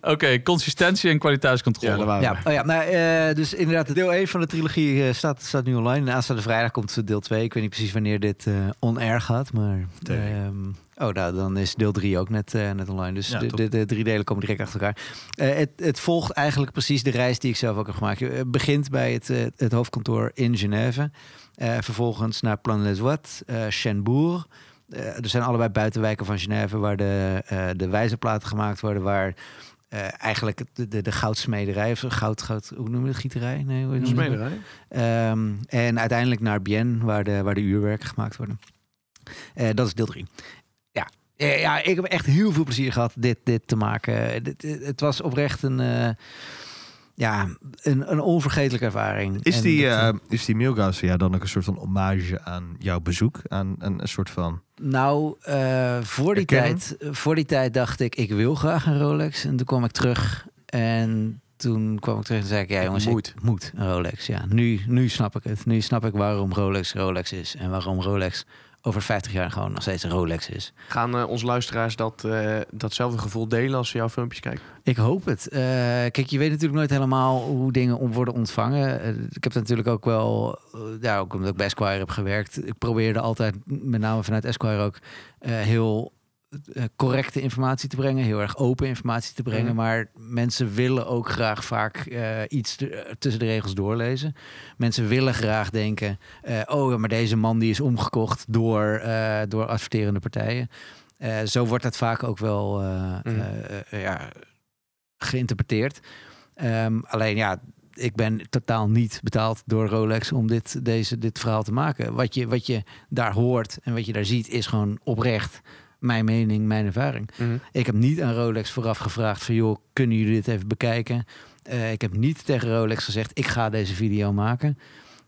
S5: Oké, consistentie en
S4: Ja,
S5: kwaliteitscontrole.
S4: daar waren we.
S1: Ja, oh ja nou, eh, dus inderdaad, deel 1 van de trilogie eh, staat, staat nu online. En aanstaande vrijdag komt deel 2. Ik weet niet precies wanneer dit eh on-air gaat, maar...
S2: Twee.
S1: ehm, oh, nou, dan is deel 3 ook net, eh, net online. Dus
S2: Ja,
S1: de,
S2: top.
S1: de, de drie delen komen direct achter elkaar. Eh, het, het volgt eigenlijk precies de reis die ik zelf ook heb gemaakt. Eh, Het begint bij het, eh, het hoofdkantoor in Genève. Eh, vervolgens naar Plan les Ouates, eh Chenbourg. Eh, er zijn allebei buitenwijken van Genève waar de, eh de wijzerplaten gemaakt worden, waar eh, eigenlijk de, de, de goudsmederij, of zo, goud, goud, hoe noem je dat, gieterij? Nee, hoe noem je dat?
S4: Smederij.
S1: Ehm, en uiteindelijk naar Bienne, waar de, waar de uurwerken gemaakt worden. Eh, dat is deel 3. Ja. Eh, ja, ik heb echt heel veel plezier gehad dit, dit te maken. Eh, dit- dit- het was oprecht een, eh, ja, een, een onvergetelijke ervaring.
S2: Is
S1: En
S2: die,
S1: dat, eh,
S2: eh, is die Milgaus voor jou dan ook een soort van hommage aan jouw bezoek? Aan een, een soort van...
S1: Nou, eh, voor, die
S2: Erkenning?
S1: tijd, voor die tijd dacht ik, ik wil graag een Rolex. En toen kwam ik terug en toen kwam ik terug en zei ik, ja jongens,
S4: moet.
S1: ik moet een Rolex. Ja, nu, nu snap ik het. Nu snap ik waarom Rolex Rolex is. En waarom Rolex over 50 jaar gewoon nog steeds een Rolex is.
S4: Gaan eh, onze luisteraars dat, eh, datzelfde gevoel delen als ze jouw filmpjes kijken?
S1: Ik hoop het. Eh, kijk, je weet natuurlijk nooit helemaal hoe dingen om worden ontvangen. Eh, ik heb dat natuurlijk ook wel, eh, ja, ook omdat ik bij Esquire heb gewerkt. Ik probeerde altijd, met name vanuit Esquire ook, eh, heel eh, correcte informatie te brengen, heel erg open informatie te brengen.
S4: Mhm.
S1: Maar mensen willen ook graag vaak eh, iets te- eh, tussen de regels doorlezen. Mensen willen graag denken, eh, oh ja, maar deze man die is omgekocht door, eh, door adverterende partijen. Eh, zo wordt dat vaak ook wel eh,
S4: Mhm.
S1: eh, eh, ja, geïnterpreteerd. Ehm, alleen ja, ik ben totaal niet betaald door Rolex om dit, deze, dit verhaal te maken. Wat je, wat je daar hoort en wat je daar ziet is gewoon oprecht mijn mening, mijn ervaring.
S4: Mhm.
S1: Ik heb niet aan Rolex vooraf gevraagd van joh, kunnen jullie dit even bekijken? Eh, ik heb niet tegen Rolex gezegd, ik ga deze video maken.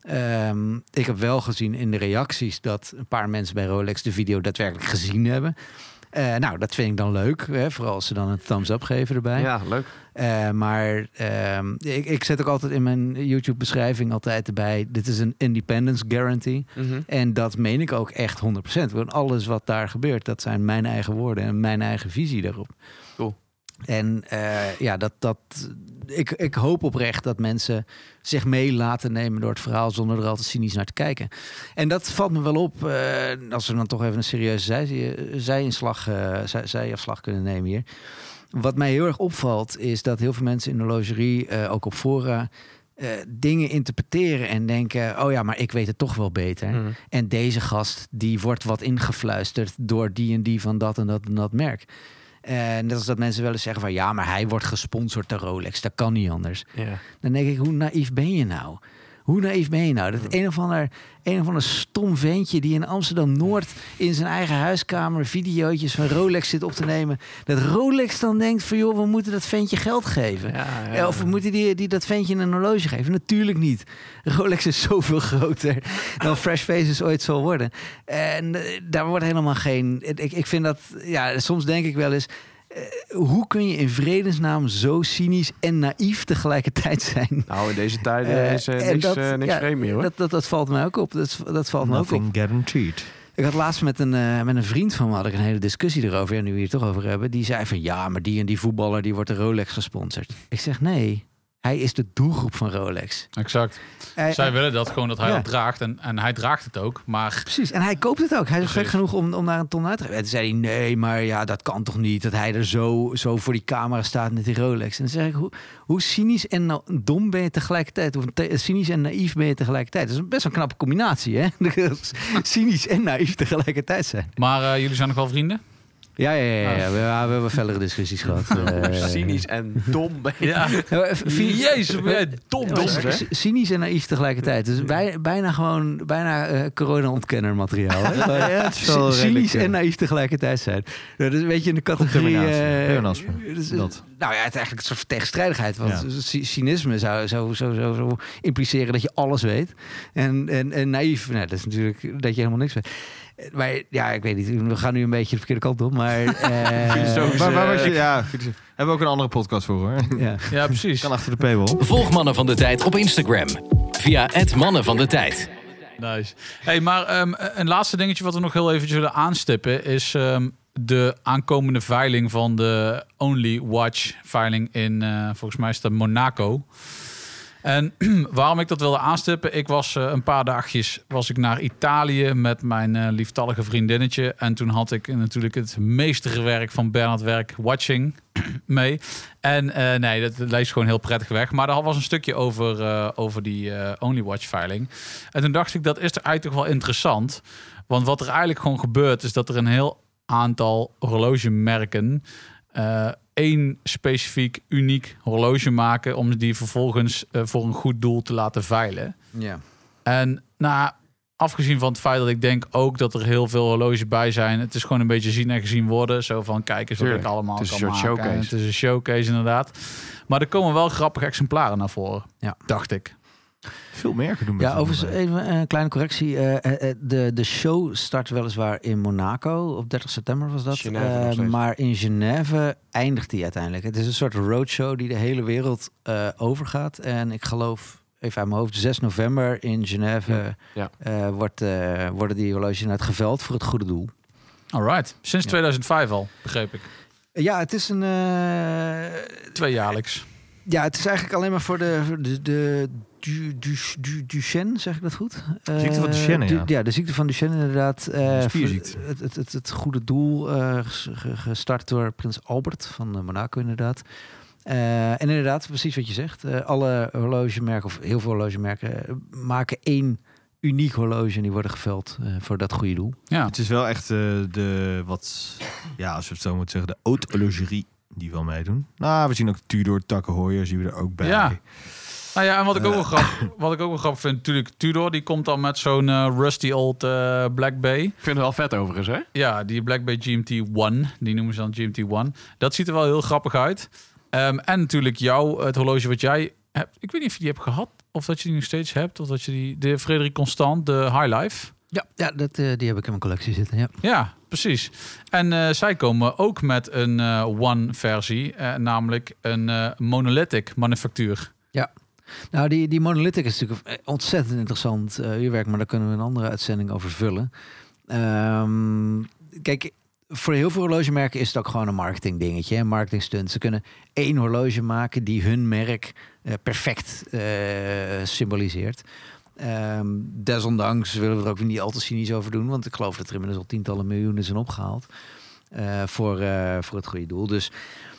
S1: Ehm, ik heb wel gezien in de reacties dat een paar mensen bij Rolex de video daadwerkelijk gezien hebben. Eh, nou, dat vind ik dan leuk. Hè? Vooral als ze dan een thumbs up geven erbij.
S4: Ja, leuk.
S1: Eh, maar ehm, ik, ik zet ook altijd in mijn YouTube-beschrijving altijd erbij... dit is een independence guarantee.
S4: Mhm.
S1: En dat meen ik ook echt 100%. Want alles wat daar gebeurt, dat zijn mijn eigen woorden en mijn eigen visie daarop.
S4: Cool.
S1: En eh, ja, dat, dat, ik, ik hoop oprecht dat mensen zich mee laten nemen door het verhaal zonder er altijd cynisch naar te kijken. En dat valt me wel op, eh, als we dan toch even een serieuze zij, zijinslag, eh, zij, zijafslag kunnen nemen hier. Wat mij heel erg opvalt, is dat heel veel mensen in de logerie, eh, ook op fora, eh, dingen interpreteren en denken: oh ja, maar ik weet het toch wel beter.
S4: Mhm.
S1: En deze gast, die wordt wat ingefluisterd door die en die van dat en dat en dat merk. En net als dat mensen wel eens zeggen van ja, maar hij wordt gesponsord door Rolex, dat kan niet anders.
S4: Ja.
S1: Dan denk ik, hoe naïef ben je nou? Hoe naïef ben je nou? Dat een of ander, een of ander stom ventje die in Amsterdam-Noord in zijn eigen huiskamer videootjes van Rolex zit op te nemen. Dat Rolex dan denkt van joh, we moeten dat ventje geld geven.
S4: Ja,
S1: Ja, Of we moeten die, die dat ventje een horloge geven? Natuurlijk niet. Rolex is zoveel groter dan Fresh Faces ooit zal worden. En eh, daar wordt helemaal geen... Ik, ik vind dat... Ja, soms denk ik wel eens... eh, hoe kun je in vredesnaam zo cynisch en naïef tegelijkertijd zijn?
S4: Nou, in deze tijden
S1: Eh,
S4: is eh,
S1: en
S4: niks,
S1: dat-
S4: eh, niks
S1: ja,
S4: vreemd meer hoor.
S1: Dat, dat, dat valt mij ook op. Dat, dat valt me ook op.
S2: Nothing guaranteed.
S1: Ik had laatst met een, eh, met een vriend van me had ik een hele discussie erover. Ja, nu we hier toch over hebben. Die zei van ja, maar die en die voetballer die wordt door Rolex gesponsord. Ik zeg nee, hij is de doelgroep van Rolex.
S5: Exact.
S1: Eh,
S5: Zij
S1: eh,
S5: willen dat gewoon dat hij
S1: Ja.
S5: dat draagt. En, en hij draagt het ook. Maar
S1: Precies, en hij koopt het ook. Hij is gek
S5: Precies.
S1: genoeg om, om daar een ton uit te geven. En toen zei hij, nee, maar ja, dat kan toch niet... dat hij er zo, zo voor die camera staat met die Rolex. En dan zeg ik, hoe, hoe cynisch en na- dom ben je tegelijkertijd? Of te- cynisch en naïef ben je tegelijkertijd? Dat is best wel een knappe combinatie, hè? cynisch en naïef tegelijkertijd zijn.
S5: Maar eh, jullie zijn nog wel vrienden?
S1: Ja, ja, ja, ja. We, ja, we hebben fellere discussies gehad. Eh,
S4: Cynisch en dom ben je.
S5: Ja.
S1: ja, maar f- fi-
S5: Jezus, ben jij dom,
S1: Ja,
S5: dom.
S1: maar
S4: hè?
S1: c- cynisch en naïef tegelijkertijd. Dus bij- bijna gewoon bijna eh, corona-ontkenner materiaal. hè? Gewoon
S2: is wel
S1: c-
S2: redelijk,
S1: cynisch
S2: eh,
S1: en naïef tegelijkertijd zijn. Nou, dat is een beetje in de categorie...
S2: Combinatie,
S1: eh,
S2: pleonasme.
S1: dus, eh,
S2: Dat.
S1: Nou ja, het is eigenlijk een soort tegenstrijdigheid. Want
S2: Ja.
S1: c- cynisme zou, zou, zou, zou, zou impliceren dat je alles weet. En, en, en naïef, nou, dat is natuurlijk dat je helemaal niks weet. Eh, Maar ja, ik weet niet. We gaan nu een beetje de verkeerde kant op. Maar... eh,
S4: Filosofisch.
S2: waar, waar was je?
S4: eh,
S2: Ja, hebben we ook een andere podcast voor hoor.
S1: ja.
S5: Ja, precies.
S2: Kan achter de paywall.
S3: Volg Mannen van de Tijd op Instagram. Via het Mannen van de Tijd.
S5: Nice. Hey, maar ehm, een laatste dingetje wat we nog heel even zullen aanstippen is ehm, de aankomende veiling van de Only Watch veiling in, eh, volgens mij is dat Monaco. En waarom ik dat wilde aanstippen, ik was eh, een paar dagjes was ik naar Italië met mijn eh, lieftallige vriendinnetje. En toen had ik natuurlijk het meesterwerk van Bernard Werk, Watching, mee. En eh, nee, dat leest gewoon heel prettig weg. Maar er was een stukje over, eh, over die eh, Only Watch veiling. En toen dacht ik, dat is er eigenlijk toch wel interessant. Want wat er eigenlijk gewoon gebeurt, is dat er een heel aantal horlogemerken eh één specifiek uniek horloge maken om die vervolgens eh, voor een goed doel te laten veilen.
S1: ja.
S5: En nou, afgezien van het feit dat ik denk ook dat er heel veel horloges bij zijn. Het is gewoon een beetje zien en gezien worden. Zo van, kijk eens wat ik
S4: Tuurlijk.
S5: allemaal
S4: Het is een
S5: kan
S4: soort
S5: maken.
S4: showcase.
S5: En het is een showcase inderdaad. Maar er komen wel grappige exemplaren naar voren,
S1: Ja.
S5: dacht ik.
S2: Veel meer doen.
S1: Ja, overigens even een kleine correctie. Eh, eh, eh, de, de show start weliswaar in Monaco. Op 30 september was dat.
S4: Genève nog
S1: Eh,
S4: steeds.
S1: maar in Genève eindigt die uiteindelijk. Het is een soort roadshow die de hele wereld eh, overgaat. En ik geloof, even uit mijn hoofd, 6 november in Genève
S4: Ja.
S1: eh, wordt, eh, worden die horloges inderdaad geveld voor het goede doel.
S5: Alright. Sinds
S1: Ja.
S5: 2005 al, begreep ik.
S1: Eh, Ja, het is een. eh,
S5: Tweejaarlijks.
S1: ja, het is eigenlijk alleen maar voor de, voor de, de Du, du, du, Duchenne, zeg ik dat goed? De
S2: ziekte van Duchenne, ja.
S1: de ziekte van Duchenne inderdaad. eh,
S2: Spierziekte.
S1: Het, het, het, het goede doel, eh, ges- ge- gestart door prins Albert van eh, Monaco inderdaad. Eh, en inderdaad, precies wat je zegt. eh, alle horlogemerken, of heel veel horlogemerken, eh, maken één uniek horloge en die worden geveld eh, voor dat goede doel.
S5: Ja.
S2: Het is wel echt eh, de, wat, ja, als we het zo moeten zeggen, de haute horlogerie die wel meedoen. Nou, we zien ook Tudor, Takenhooier zien we er ook bij.
S5: Ja. Nou ja, en wat ik, ook wel grap, wat ik ook wel grappig vind, natuurlijk Tudor, die komt dan met zo'n eh, rusty old eh, Black Bay.
S4: Ik vind het wel vet overigens, hè?
S5: Ja, die Black Bay GMT-1, die noemen ze dan GMT-1. Dat ziet er wel heel grappig uit. Ehm, en natuurlijk jou, het horloge wat jij hebt. Ik weet niet of je die hebt gehad, of dat je die nog steeds hebt, of dat je die, de Frederik Constant, de High Life.
S1: Ja, ja dat, eh, die heb ik in mijn collectie zitten. Ja.
S5: Ja, precies. En eh, zij komen ook met een eh, One-versie, eh, namelijk een eh, monolithic manufactuur.
S1: Nou, die, die monolithic is natuurlijk eh, ontzettend interessant eh, uurwerk, maar daar kunnen we een andere uitzending over vullen. Ehm, kijk, voor heel veel horlogemerken is het ook gewoon een marketing dingetje, een marketing stunt. Ze kunnen één horloge maken die hun merk eh, perfect eh, symboliseert. Ehm, desondanks willen we er ook niet al te cynisch over doen, want ik geloof dat er inmiddels al tientallen miljoenen zijn opgehaald eh, voor, eh, voor het goede doel. Dus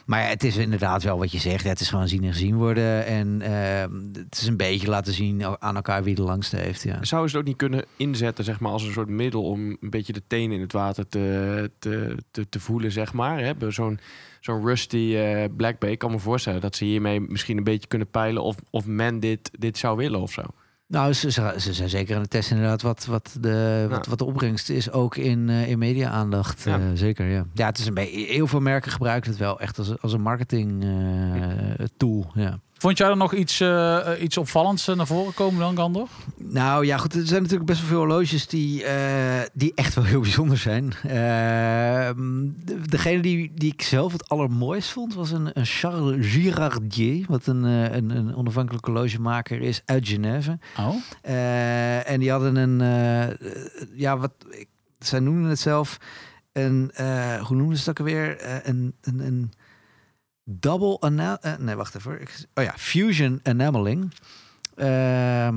S1: maar ja, het is inderdaad wel wat je zegt. Het is gewoon zien en gezien worden. En ehm, het is een beetje laten zien aan elkaar wie de langste heeft. Ja.
S4: Zouden ze het ook niet kunnen inzetten, zeg maar, als een soort middel om een beetje de tenen in het water te, te, te, te voelen, zeg maar? hè? Bij Zo'n zo'n rusty eh, Black Bay. Ik kan me voorstellen dat ze hiermee misschien een beetje kunnen peilen of, of men dit, dit zou willen of zo.
S1: Nou, ze, ze, ze zijn zeker aan het testen inderdaad wat, wat, de, wat,
S4: Ja.
S1: wat de opbrengst is. Ook in, eh, in media-aandacht.
S4: Ja.
S1: eh, zeker, ja. Ja, het is een beetje... Heel veel merken gebruiken het wel echt als, als een marketing eh, tool, ja.
S5: Vond jij er nog iets, eh, eh, iets opvallends eh, naar voren komen dan, Gandor?
S1: Nou ja, goed, er zijn natuurlijk best wel veel horloges die, eh, die echt wel heel bijzonder zijn. Ehm, de- degene die, die ik zelf het allermooist vond was een, een Charles Girardier, wat een, eh, een, een onafhankelijk horlogemaker is uit Genève.
S5: Oh.
S1: Eh, en die hadden een, eh, eh, ja, wat, ik, zij noemden het zelf, een, eh, hoe noemden ze het ook alweer? Eh, een, een, een double enamel, nee wacht even, hoor. ik, oh ja, fusion enameling. Ehm,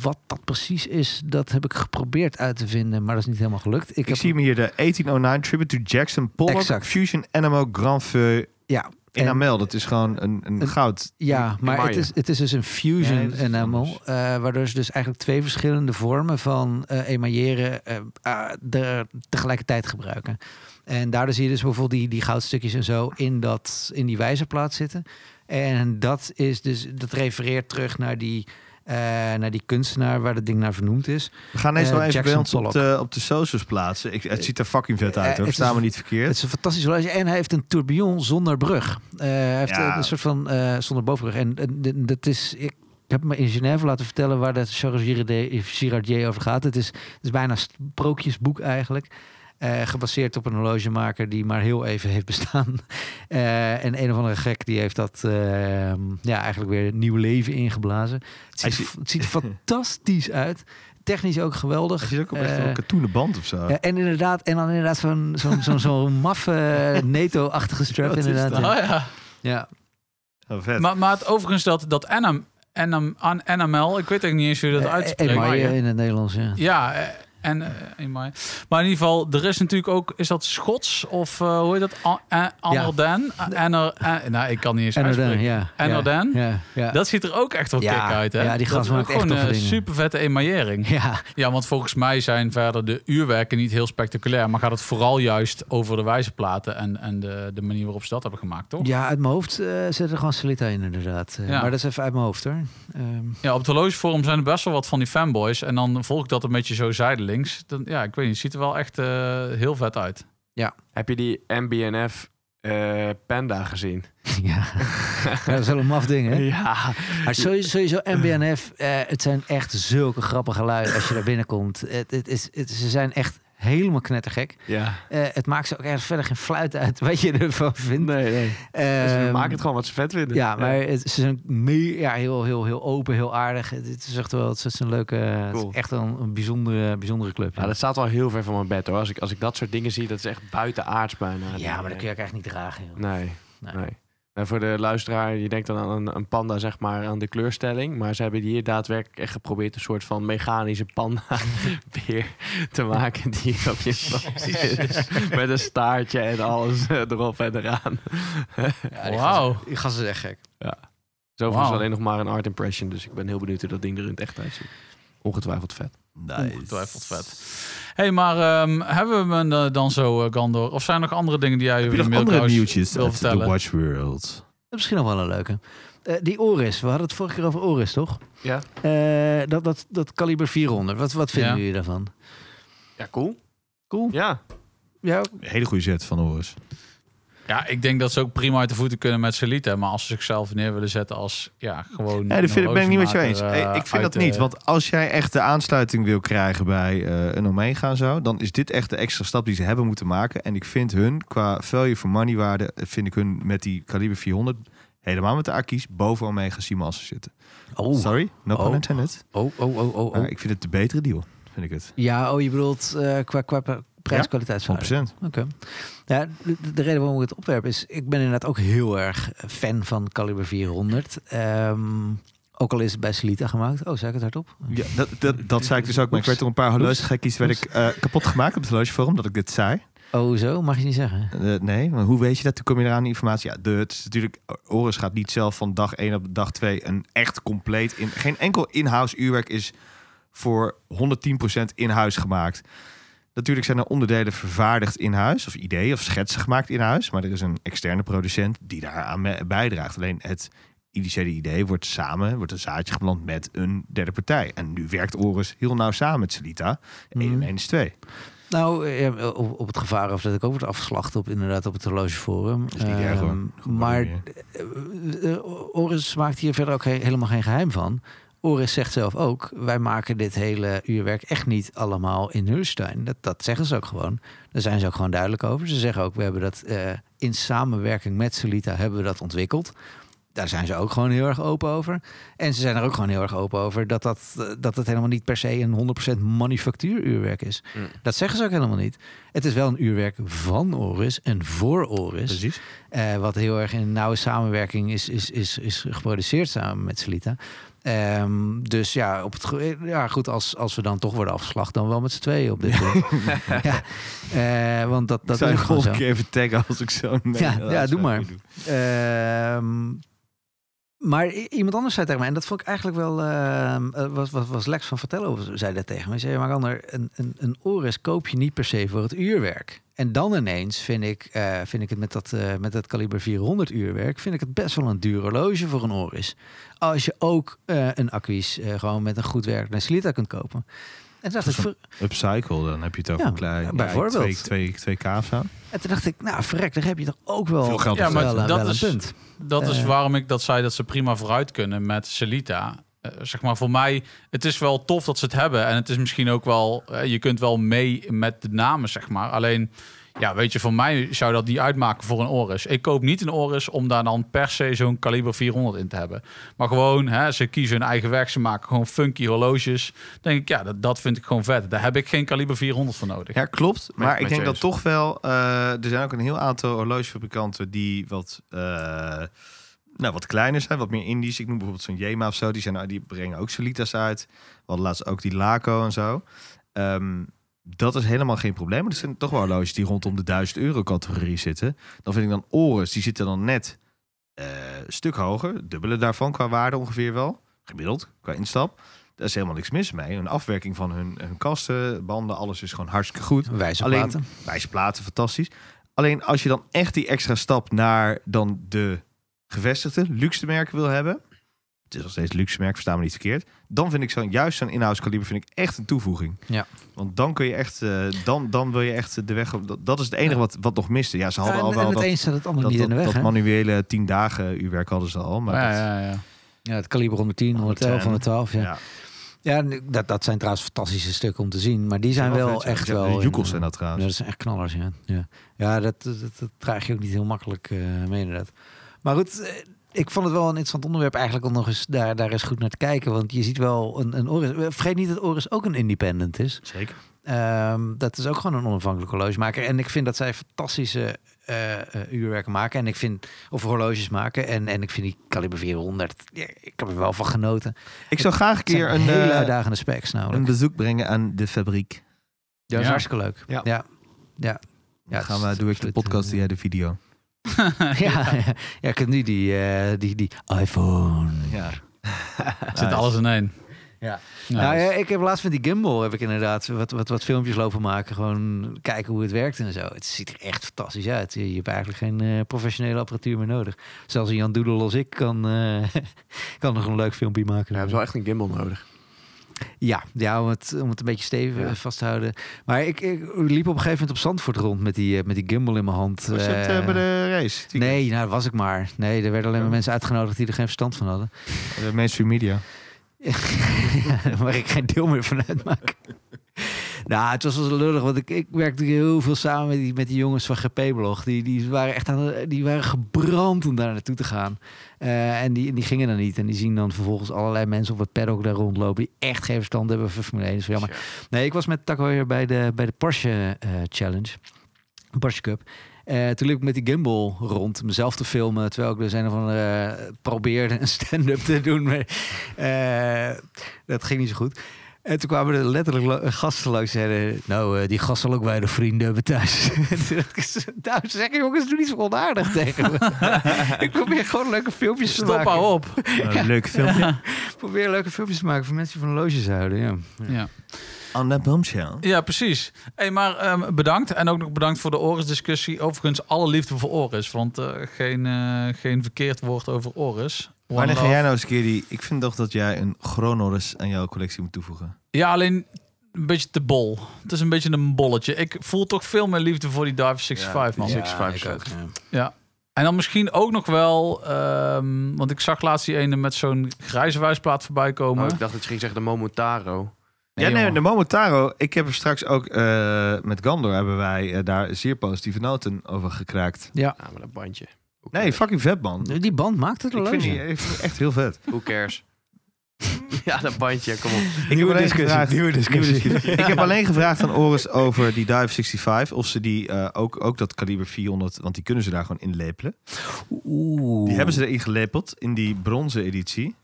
S1: wat dat precies is, dat heb ik geprobeerd uit te vinden, maar dat is niet helemaal gelukt. Ik,
S2: Ik
S1: heb,
S2: zie hem hier, de 1809 Tribute to Jackson Pollock
S1: Exact.
S2: Fusion Animal Grand Feu
S1: ja, en-
S2: Enamel. Dat is gewoon een, een,
S1: Een-
S2: goud.
S1: Ja, maar het
S4: maaien.
S1: is, het is dus een fusion
S2: Nee, dat is iets
S1: enamel.
S2: anders.
S1: eh, waardoor ze dus eigenlijk twee verschillende vormen van eh emailleren eh, ah, de, tegelijkertijd gebruiken. En daardoor zie je dus bijvoorbeeld die, die goudstukjes en zo in, dat, in die wijzerplaat zitten. En dat, is dus, dat refereert terug naar die, eh, naar die kunstenaar waar dat ding naar vernoemd is.
S2: We gaan deze
S1: eh,
S2: wel even
S1: Jackson
S2: bij ons op
S1: Pollock.
S2: de, op de socials plaatsen. Ik, het ziet er fucking vet
S1: Eh,
S2: uit hoor.
S1: het
S2: Staan
S1: is-
S2: we niet verkeerd.
S1: Het is een fantastisch horloge. En hij heeft een tourbillon zonder brug. Eh, hij heeft
S2: Ja.
S1: een soort van eh, zonder bovenbrug. En, en d- dat is. Ik heb me in Genève laten vertellen waar dat Charles Girardet- Girardier over gaat. Het is, het is bijna een sprookjesboek eigenlijk. Eh, gebaseerd op een horlogemaker die maar heel even heeft bestaan. Eh, en een of andere gek die heeft dat eh, ja, eigenlijk weer nieuw leven ingeblazen. Het
S2: Hij
S1: ziet, er- het ziet er fantastisch uit. Technisch ook geweldig.
S2: Het is ook op echt
S1: Eh,
S2: een katoenen band of zo.
S1: ja, en inderdaad, en dan inderdaad zo'n zo'n zo'n zo'n maffe eh, NATO-achtige strap
S2: Wat is
S1: inderdaad.
S2: dat?
S1: Ja.
S5: Oh ja.
S1: Ja.
S2: Oh, vet.
S5: Maar, maar het overigens dat, dat NM, NM, an- NML, ik weet eigenlijk niet eens hoe je dat Oh,
S1: Eh,
S5: uitspreekt.
S1: Emaille in het Nederlands, ja.
S5: Ja, eh, en, eh, in mei. maar in ieder geval, er is natuurlijk ook, is dat Schots of eh, hoe heet dat? A- A- Anordan? En nou, ik kan niet eens
S1: En
S5: uitspreken.
S1: Ardennen, ja.
S5: En
S1: ja.
S5: Ardennen?
S1: Ja, ja.
S5: Dat ziet er ook echt wel
S1: Ja,
S5: kick uit, hè?
S1: ja, die
S5: dat is
S1: gasten
S5: ook
S1: maken echt
S5: gewoon
S1: toffe
S5: een
S1: dingen.
S5: super vette emaillering.
S1: ja.
S5: Ja, want volgens mij zijn verder de uurwerken niet heel spectaculair. Maar gaat het vooral juist over de wijzerplaten en, en de, de manier waarop ze dat hebben gemaakt, toch?
S1: ja, uit mijn hoofd eh zit er gewoon Solita in inderdaad. Eh,
S5: Ja.
S1: Maar dat is even uit mijn hoofd hoor. Ehm,
S5: Ja, op het horlogeforum zijn er best wel wat van die fanboys. En dan volg ik dat een beetje zo zijdelings. Dan, ja, ik weet niet, het ziet er wel echt eh, heel vet uit.
S4: Heb je die MBNF eh, Panda gezien?
S1: ja. ja, dat is wel een maf ding hè.
S4: Ja.
S1: Maar sowieso, sowieso MBNF, eh, het zijn echt zulke grappige lui als je daar binnenkomt. Het, het is, het, ze zijn echt helemaal knettergek.
S4: ja.
S1: Eh, het maakt ze ook echt verder geen fluit uit wat je ervan vindt.
S4: Nee, nee. Ze
S1: Ehm,
S4: Dus maken het gewoon wat ze vet vinden.
S1: Ja, maar het, ze zijn me- ja, heel, heel, heel open, heel aardig. Het, het is echt wel het is een leuke, het is
S4: Cool.
S1: echt wel een, een bijzondere, bijzondere club. Ja.
S4: Ja, Nou, dat staat wel heel ver van mijn bed hoor. Als ik, als ik dat soort dingen zie, dat is echt buitenaards bijna.
S1: Ja, maar dat kun je ook echt niet dragen. joh.
S4: Nee,
S1: Nee.
S4: nee. En voor de luisteraar, je denkt dan aan een, een panda, zeg maar, aan de kleurstelling. Maar ze hebben hier daadwerkelijk echt geprobeerd een soort van mechanische panda-beer te maken. Die op je stand zit. Met een staartje en alles eh, erop en eraan.
S5: Wauw.
S1: Die gast is echt gek.
S4: Zo is
S5: Wauw.
S4: alleen nog maar een art impression. Dus ik ben heel benieuwd hoe dat ding er in het echt uitziet. Ongetwijfeld vet.
S5: Ongetwijfeld vet. hey, maar ehm, hebben we hem eh, dan zo, eh, Gandor? Of zijn er nog andere dingen die jij
S2: Heb
S5: over
S2: je
S5: de
S2: nog andere
S5: mailkous
S2: nieuwtjes
S5: wil
S2: uit de
S5: vertellen?
S2: Watch World?
S1: Misschien nog wel een leuke. Eh, die Oris, we hadden het vorige keer over Oris, toch?
S4: Ja.
S1: Eh, dat, dat, dat kaliber 400, wat, wat vinden
S5: Ja.
S1: jullie daarvan?
S4: Ja, cool.
S1: Cool.
S4: Ja.
S1: Ja,
S2: Hele goede zet van Horus.
S5: Ja, ik denk dat ze ook prima uit de voeten kunnen met Salita. Maar als ze zichzelf neer willen zetten als, ja, gewoon...
S2: Ja, dat vind,
S5: een
S2: ben ik niet met jou eens.
S5: horlogemaker,
S2: Eh,
S5: eh,
S2: ik vind
S5: uit
S2: dat niet.
S5: de-
S2: Want als jij echt de aansluiting wil krijgen bij eh, een Omega en zo... dan is dit echt de extra stap die ze hebben moeten maken. En ik vind hun, qua value for money waarde... eh, vind ik hun met die kaliber 400... helemaal met de Aki's boven Omega Simasa zitten.
S1: oh,
S2: Sorry, no pun
S1: Oh.
S2: intended.
S1: oh, oh, oh, oh.
S2: Maar ik vind het de betere deal, vind ik het.
S1: Ja, oh, je bedoelt eh, qua, qua prijs kwaliteit
S2: 100%.
S1: Oké. Ja, de, de reden waarom ik het opwerp is, ik ben inderdaad ook heel erg fan van Caliber 400. Ehm, ook al is het bij Celita gemaakt. Oh, zei ik het hardop?
S2: Ja, dat, dat, dat zei ik dus ook. Maar ik
S1: Oeps.
S2: werd door een paar horlogegekkies werd ik eh, kapot gemaakt op het horlogeforum... dat ik dit zei.
S1: Oh, zo? Mag je niet zeggen.
S2: Eh, nee, maar hoe weet je dat? Toen kom je eraan aan die informatie. Ja, de, het is natuurlijk, Oris gaat niet zelf van dag 1 op dag 2 een echt compleet... In, geen enkel in-house uurwerk is voor 110% in-huis gemaakt. Natuurlijk zijn er onderdelen vervaardigd in huis, of ideeën of schetsen gemaakt in huis. Maar er is een externe producent die daaraan me- bijdraagt. Alleen het initiële idee wordt samen, wordt een zaadje geplant met een derde partij. En nu werkt Oris heel nauw samen met Celita. 1 en
S1: Mhm.
S2: 1 is 2.
S1: Nou, eh, op, op het gevaar of dat ik ook word afgeslacht op inderdaad op het horlogeforum.
S2: is niet erg, hoor.
S1: Ehm, maar eh, eh, Oris maakt hier verder ook he- helemaal geen geheim van. Oris zegt zelf ook, wij maken dit hele uurwerk echt niet allemaal in Hulstein. Dat, dat zeggen ze ook gewoon. Daar zijn ze ook gewoon duidelijk over. Ze zeggen ook, we hebben dat eh, in samenwerking met Solita hebben we dat ontwikkeld. Daar zijn ze ook gewoon heel erg open over. En ze zijn er ook gewoon heel erg open over dat, dat, eh, dat het helemaal niet per se een 100% manufactuuruurwerk is.
S4: Mm.
S1: Dat zeggen ze ook helemaal niet. Het is wel een uurwerk van Oris en voor Oris.
S2: Precies.
S1: Eh, wat heel erg in nauwe samenwerking is, is, is, is geproduceerd samen met Celita. Ehm, dus ja, op het ge- ja goed, als, als we dan toch worden afgeslacht, dan wel met z'n tweeën op dit moment. ja. Eh, want dat, dat
S2: zou
S1: is
S2: je
S1: gewoon zo.
S2: volgende keer even taggen als ik zo...
S1: Ja, ja, doe maar. Ehm, maar i- iemand anders zei tegen mij, en dat vond ik eigenlijk wel, ehm, eh, was, was, was Lex van Vertello zei dat tegen mij. Hij Zei, maar ander, een, een, een Oris koop je niet per se voor het uurwerk. En dan ineens vind ik, eh, vind ik het met dat, eh, met dat kaliber 400 uurwerk, vind ik het best wel een duur horloge voor een Oris. Als je ook eh, een acquis eh, gewoon met een goed werk naar Slita kunt kopen. En toen dacht ik,
S2: Dat is
S1: ver-
S2: Upcycle, dan heb je het over
S1: Ja,
S2: een klein... ja,
S1: bijvoorbeeld.
S2: Twee, twee, twee K of zo.
S1: en toen dacht ik, nou verrek, daar heb je toch ook wel,
S2: Veel geld
S5: Ja, maar
S1: wel, een-
S5: dat
S1: wel
S5: is-
S1: een punt.
S5: Dat is
S1: Eh.
S5: waarom ik dat zei dat ze prima vooruit kunnen met Celita. Eh, zeg maar voor mij, het is wel tof dat ze het hebben. En het is misschien ook wel, eh, je kunt wel mee met de namen, zeg maar. Alleen, ja, weet je, voor mij zou dat niet uitmaken voor een Oris. Ik koop niet een Oris om daar dan per se zo'n kaliber 400 in te hebben. Maar gewoon, hè, ze kiezen hun eigen weg. Ze maken gewoon funky horloges. Dan denk ik, ja, dat, dat vind ik gewoon vet. Daar heb ik geen kaliber 400 voor nodig.
S2: Ja, klopt. Maar ik
S4: met
S2: denk
S4: je
S2: dat
S4: eens.
S2: toch wel... eh, er zijn ook een heel aantal horlogefabrikanten die wat... eh, nou, wat kleiner zijn, wat meer Indisch. Ik noem bijvoorbeeld zo'n Jema of zo. Die, zijn, die brengen ook Solitas uit. We hadden laatst ook die Laco en zo. Ehm, dat is helemaal geen probleem. Maar er zijn toch wel horloges die rondom de 1000 euro categorie zitten. Dan vind ik dan Oris, die zitten dan net eh, een stuk hoger. Dubbele daarvan qua waarde ongeveer wel. Gemiddeld, qua instap. Daar is helemaal niks mis mee. Een afwerking van hun, hun kasten, banden, alles is gewoon hartstikke goed.
S1: Wijze
S2: Alleen-
S1: platen.
S2: Wijze platen, fantastisch. Alleen als je dan echt die extra stap naar dan de gevestigde luxe merken wil hebben. Het is nog steeds luxe merk, versta me niet verkeerd. Dan vind ik zo'n juist zo'n inhouse kaliber vind ik echt een toevoeging.
S1: Ja.
S2: Want dan kun je echt, eh, dan, dan wil je echt de weg op. Dat, dat is het enige wat, wat nog miste. Ja, ze
S1: Ja,
S2: hadden
S1: en,
S2: al
S1: en
S2: wel
S1: het
S2: dat,
S1: een staat het ander
S2: dat,
S1: niet in de
S2: dat-
S1: weg.
S2: dat
S1: hè?
S2: manuele tien dagen uurwerk hadden ze al. Maar
S5: ja,
S2: dat-
S5: ja, ja.
S1: Ja, het kaliber 110, 111, 112. Ja, ja.
S2: ja.
S1: dat, dat zijn trouwens fantastische stukken om te zien. Maar die zijn wel echt
S2: Ja,
S1: wel...
S2: De joekels
S1: in- eh, dus-
S2: zijn dat
S1: ja,
S2: trouwens.
S1: dat zijn echt knallers, ja. Ja, ja dat, dat, dat draag je ook niet heel makkelijk eh, mee inderdaad. Maar goed, eh, ik vond het wel een interessant onderwerp eigenlijk om nog eens daar, daar eens goed naar te kijken. Want je ziet wel een, een Oris... Vergeet niet dat Oris ook een independent is.
S2: Zeker.
S1: Ehm, dat is ook gewoon een onafhankelijk horlogemaker. En ik vind dat zij fantastische eh, eh, eh, uurwerken maken. En ik vind, of horloges maken. En, en ik vind die kaliber 400, ja, ik heb er wel van genoten.
S2: Ik zou graag een
S1: Het
S2: keer
S1: zijn
S2: een,
S1: hele
S2: eh,
S1: uitdagende specs
S2: een
S1: namelijk.
S2: bezoek brengen aan de fabriek.
S1: Dat is
S5: Ja.
S1: hartstikke leuk.
S4: Ja.
S1: Ja. Ja. Ja.
S2: Ja,
S1: het
S2: gaan
S1: is-
S2: we, doe ik de
S1: absoluut,
S2: podcast,
S1: eh,
S2: doe jij de video.
S1: ja, ja. ik heb nu die, eh, die, die iPhone.
S2: Ja.
S5: Zit alles in één.
S1: Ja.
S5: Ja,
S1: nou,
S5: dus-
S1: ja, ik heb laatst met die gimbal heb ik inderdaad wat, wat, wat filmpjes lopen maken. Gewoon kijken hoe het werkt en zo. Het ziet er echt fantastisch uit. Je je hebt eigenlijk geen eh, professionele apparatuur meer nodig. Zelfs een Jan Doedel als ik kan, eh, kan nog een leuk filmpje maken.
S4: We hebben wel echt een gimbal nodig.
S1: Ja, ja om, het, om het een beetje stevig
S4: Ja.
S1: eh, vast te houden. Maar ik, ik liep op een gegeven moment op Zandvoort rond met die, eh, met die gimbal in mijn hand.
S2: Was je het, eh,
S1: Eh,
S2: bij de race? Die-
S1: Nee, nou, dat was ik maar. Nee, er werden alleen maar mensen uitgenodigd die er geen verstand van hadden.
S2: De mainstream media.
S1: Ja, waar ik geen deel meer van uitmaak. Nou, het was wel lullig, want ik, ik werkte heel veel samen met die, met die jongens van GP-blog. Die, die waren echt aan, de- die waren gebrand om daar naartoe te gaan. Eh, en die, die gingen dan niet. En die zien dan vervolgens allerlei mensen op het paddock daar rondlopen... die echt geen verstand hebben van Formule 1. Dat is wel jammer. Nee, ik was met Taco hier bij de, bij de Porsche eh, Challenge. Porsche Cup. Eh, toen liep ik met die gimbal rond, mezelf te filmen, terwijl ik dus een of andere eh, probeerde een stand-up te doen. Maar, eh, dat ging niet zo goed. En toen kwamen er letterlijk lo- gasten langs en zeiden... Nou, eh, die gast zal ook weinig vrienden hebben thuis. Toen dacht ik, nou, zeg jongens, doe niet zo onaardig tegen me. ik probeer gewoon leuke filmpjes te
S5: Stop
S1: maken.
S5: maar op.
S2: Een leuk filmpje.
S1: Ik probeer leuke filmpjes te maken voor mensen die van loges houden. Ja.
S5: Ja.
S2: On that bombshell.
S5: Ja, precies. Hey, maar ehm, bedankt. En ook nog bedankt voor de Oris-discussie. Overigens, alle liefde voor Oris. Want eh, geen, eh, geen verkeerd woord over Oris. One
S2: Wanneer ga
S5: love.
S2: jij nou eens een keer die... Ik vind toch dat jij een Chronorus aan jouw collectie moet toevoegen.
S5: Ja, alleen een beetje te bol. Het is een beetje een bolletje. Ik voel toch veel meer liefde voor die Dive 65, man.
S4: Ja, ik ook,
S5: En dan misschien ook nog wel... ehm, want ik zag laatst die ene met zo'n grijze wijsplaat voorbij komen.
S4: Oh, ik dacht dat je ging zeggen de Momotaro.
S2: Ja, nee,
S5: jongen.
S2: de Momotaro. Ik heb er straks ook eh, met Gandor hebben wij eh, daar zeer positieve noten over gekraakt.
S4: Ja, maar dat bandje. Hoe
S2: Nee,
S4: cares?
S2: fucking vet man.
S1: Die band maakt het
S2: Ik
S1: wel leuk.
S2: vind, die, ik vind die echt heel vet.
S4: Who cares? ja, dat bandje, kom op.
S2: Ik heb
S1: Nieuwe
S2: alleen
S1: discussie,
S2: gevraagd-
S1: nieuwe discussie.
S2: ik heb alleen gevraagd aan Oris over die Dive 65. Of ze die eh, ook, ook dat kaliber 400, want die kunnen ze daar gewoon inlepelen.
S1: Oeh.
S2: Die hebben ze erin gelepeld in die bronzen editie.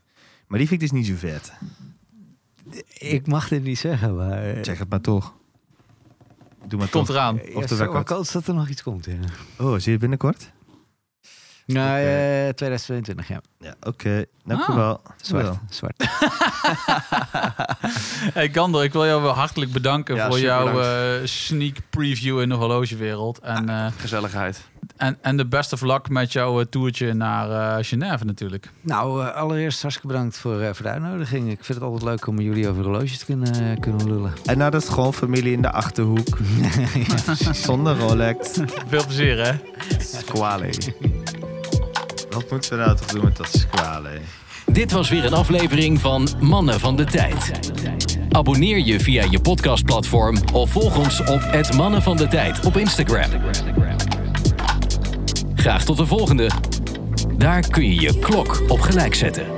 S2: Maar die vind ik dus niet zo vet.
S1: Ik mag dit niet zeggen, maar... eh,
S2: Zeg het maar toch. Doe maar
S5: Komt
S2: toch.
S5: eraan.
S1: ja,
S2: of de
S1: zo
S2: record.
S1: kans dat er nog iets komt, ja.
S2: Oh, zie je binnenkort?
S1: Nou,
S2: Oké.
S1: eh, 2022, ja.
S2: Ja, oké. Dankjewel.
S1: Zwart.
S2: Ah, Wel.
S1: Zwart.
S5: Hey Gander, ik wil jou wel hartelijk bedanken
S4: Ja,
S5: voor
S4: super
S5: jouw eh, sneak preview in de horlogewereld. En,
S4: Ah.
S5: eh,
S4: Gezelligheid.
S5: en, en de best of luck met jouw eh, toertje naar eh, Genève natuurlijk.
S1: Nou, eh, allereerst hartstikke bedankt voor, eh, voor de uitnodiging. Ik vind het altijd leuk om met jullie over horloges te kunnen, eh, kunnen lullen.
S2: En nou, dat is gewoon familie in de achterhoek. Zonder Rolex.
S5: Veel plezier hè.
S4: Kwale.
S2: Wat moeten we nou toch doen met dat squalen?
S3: Dit was weer een aflevering van Mannen van de Tijd. Abonneer je via je podcastplatform of volg ons op het Mannen van de Tijd op Instagram. Graag tot de volgende. Daar kun je je klok op gelijk zetten.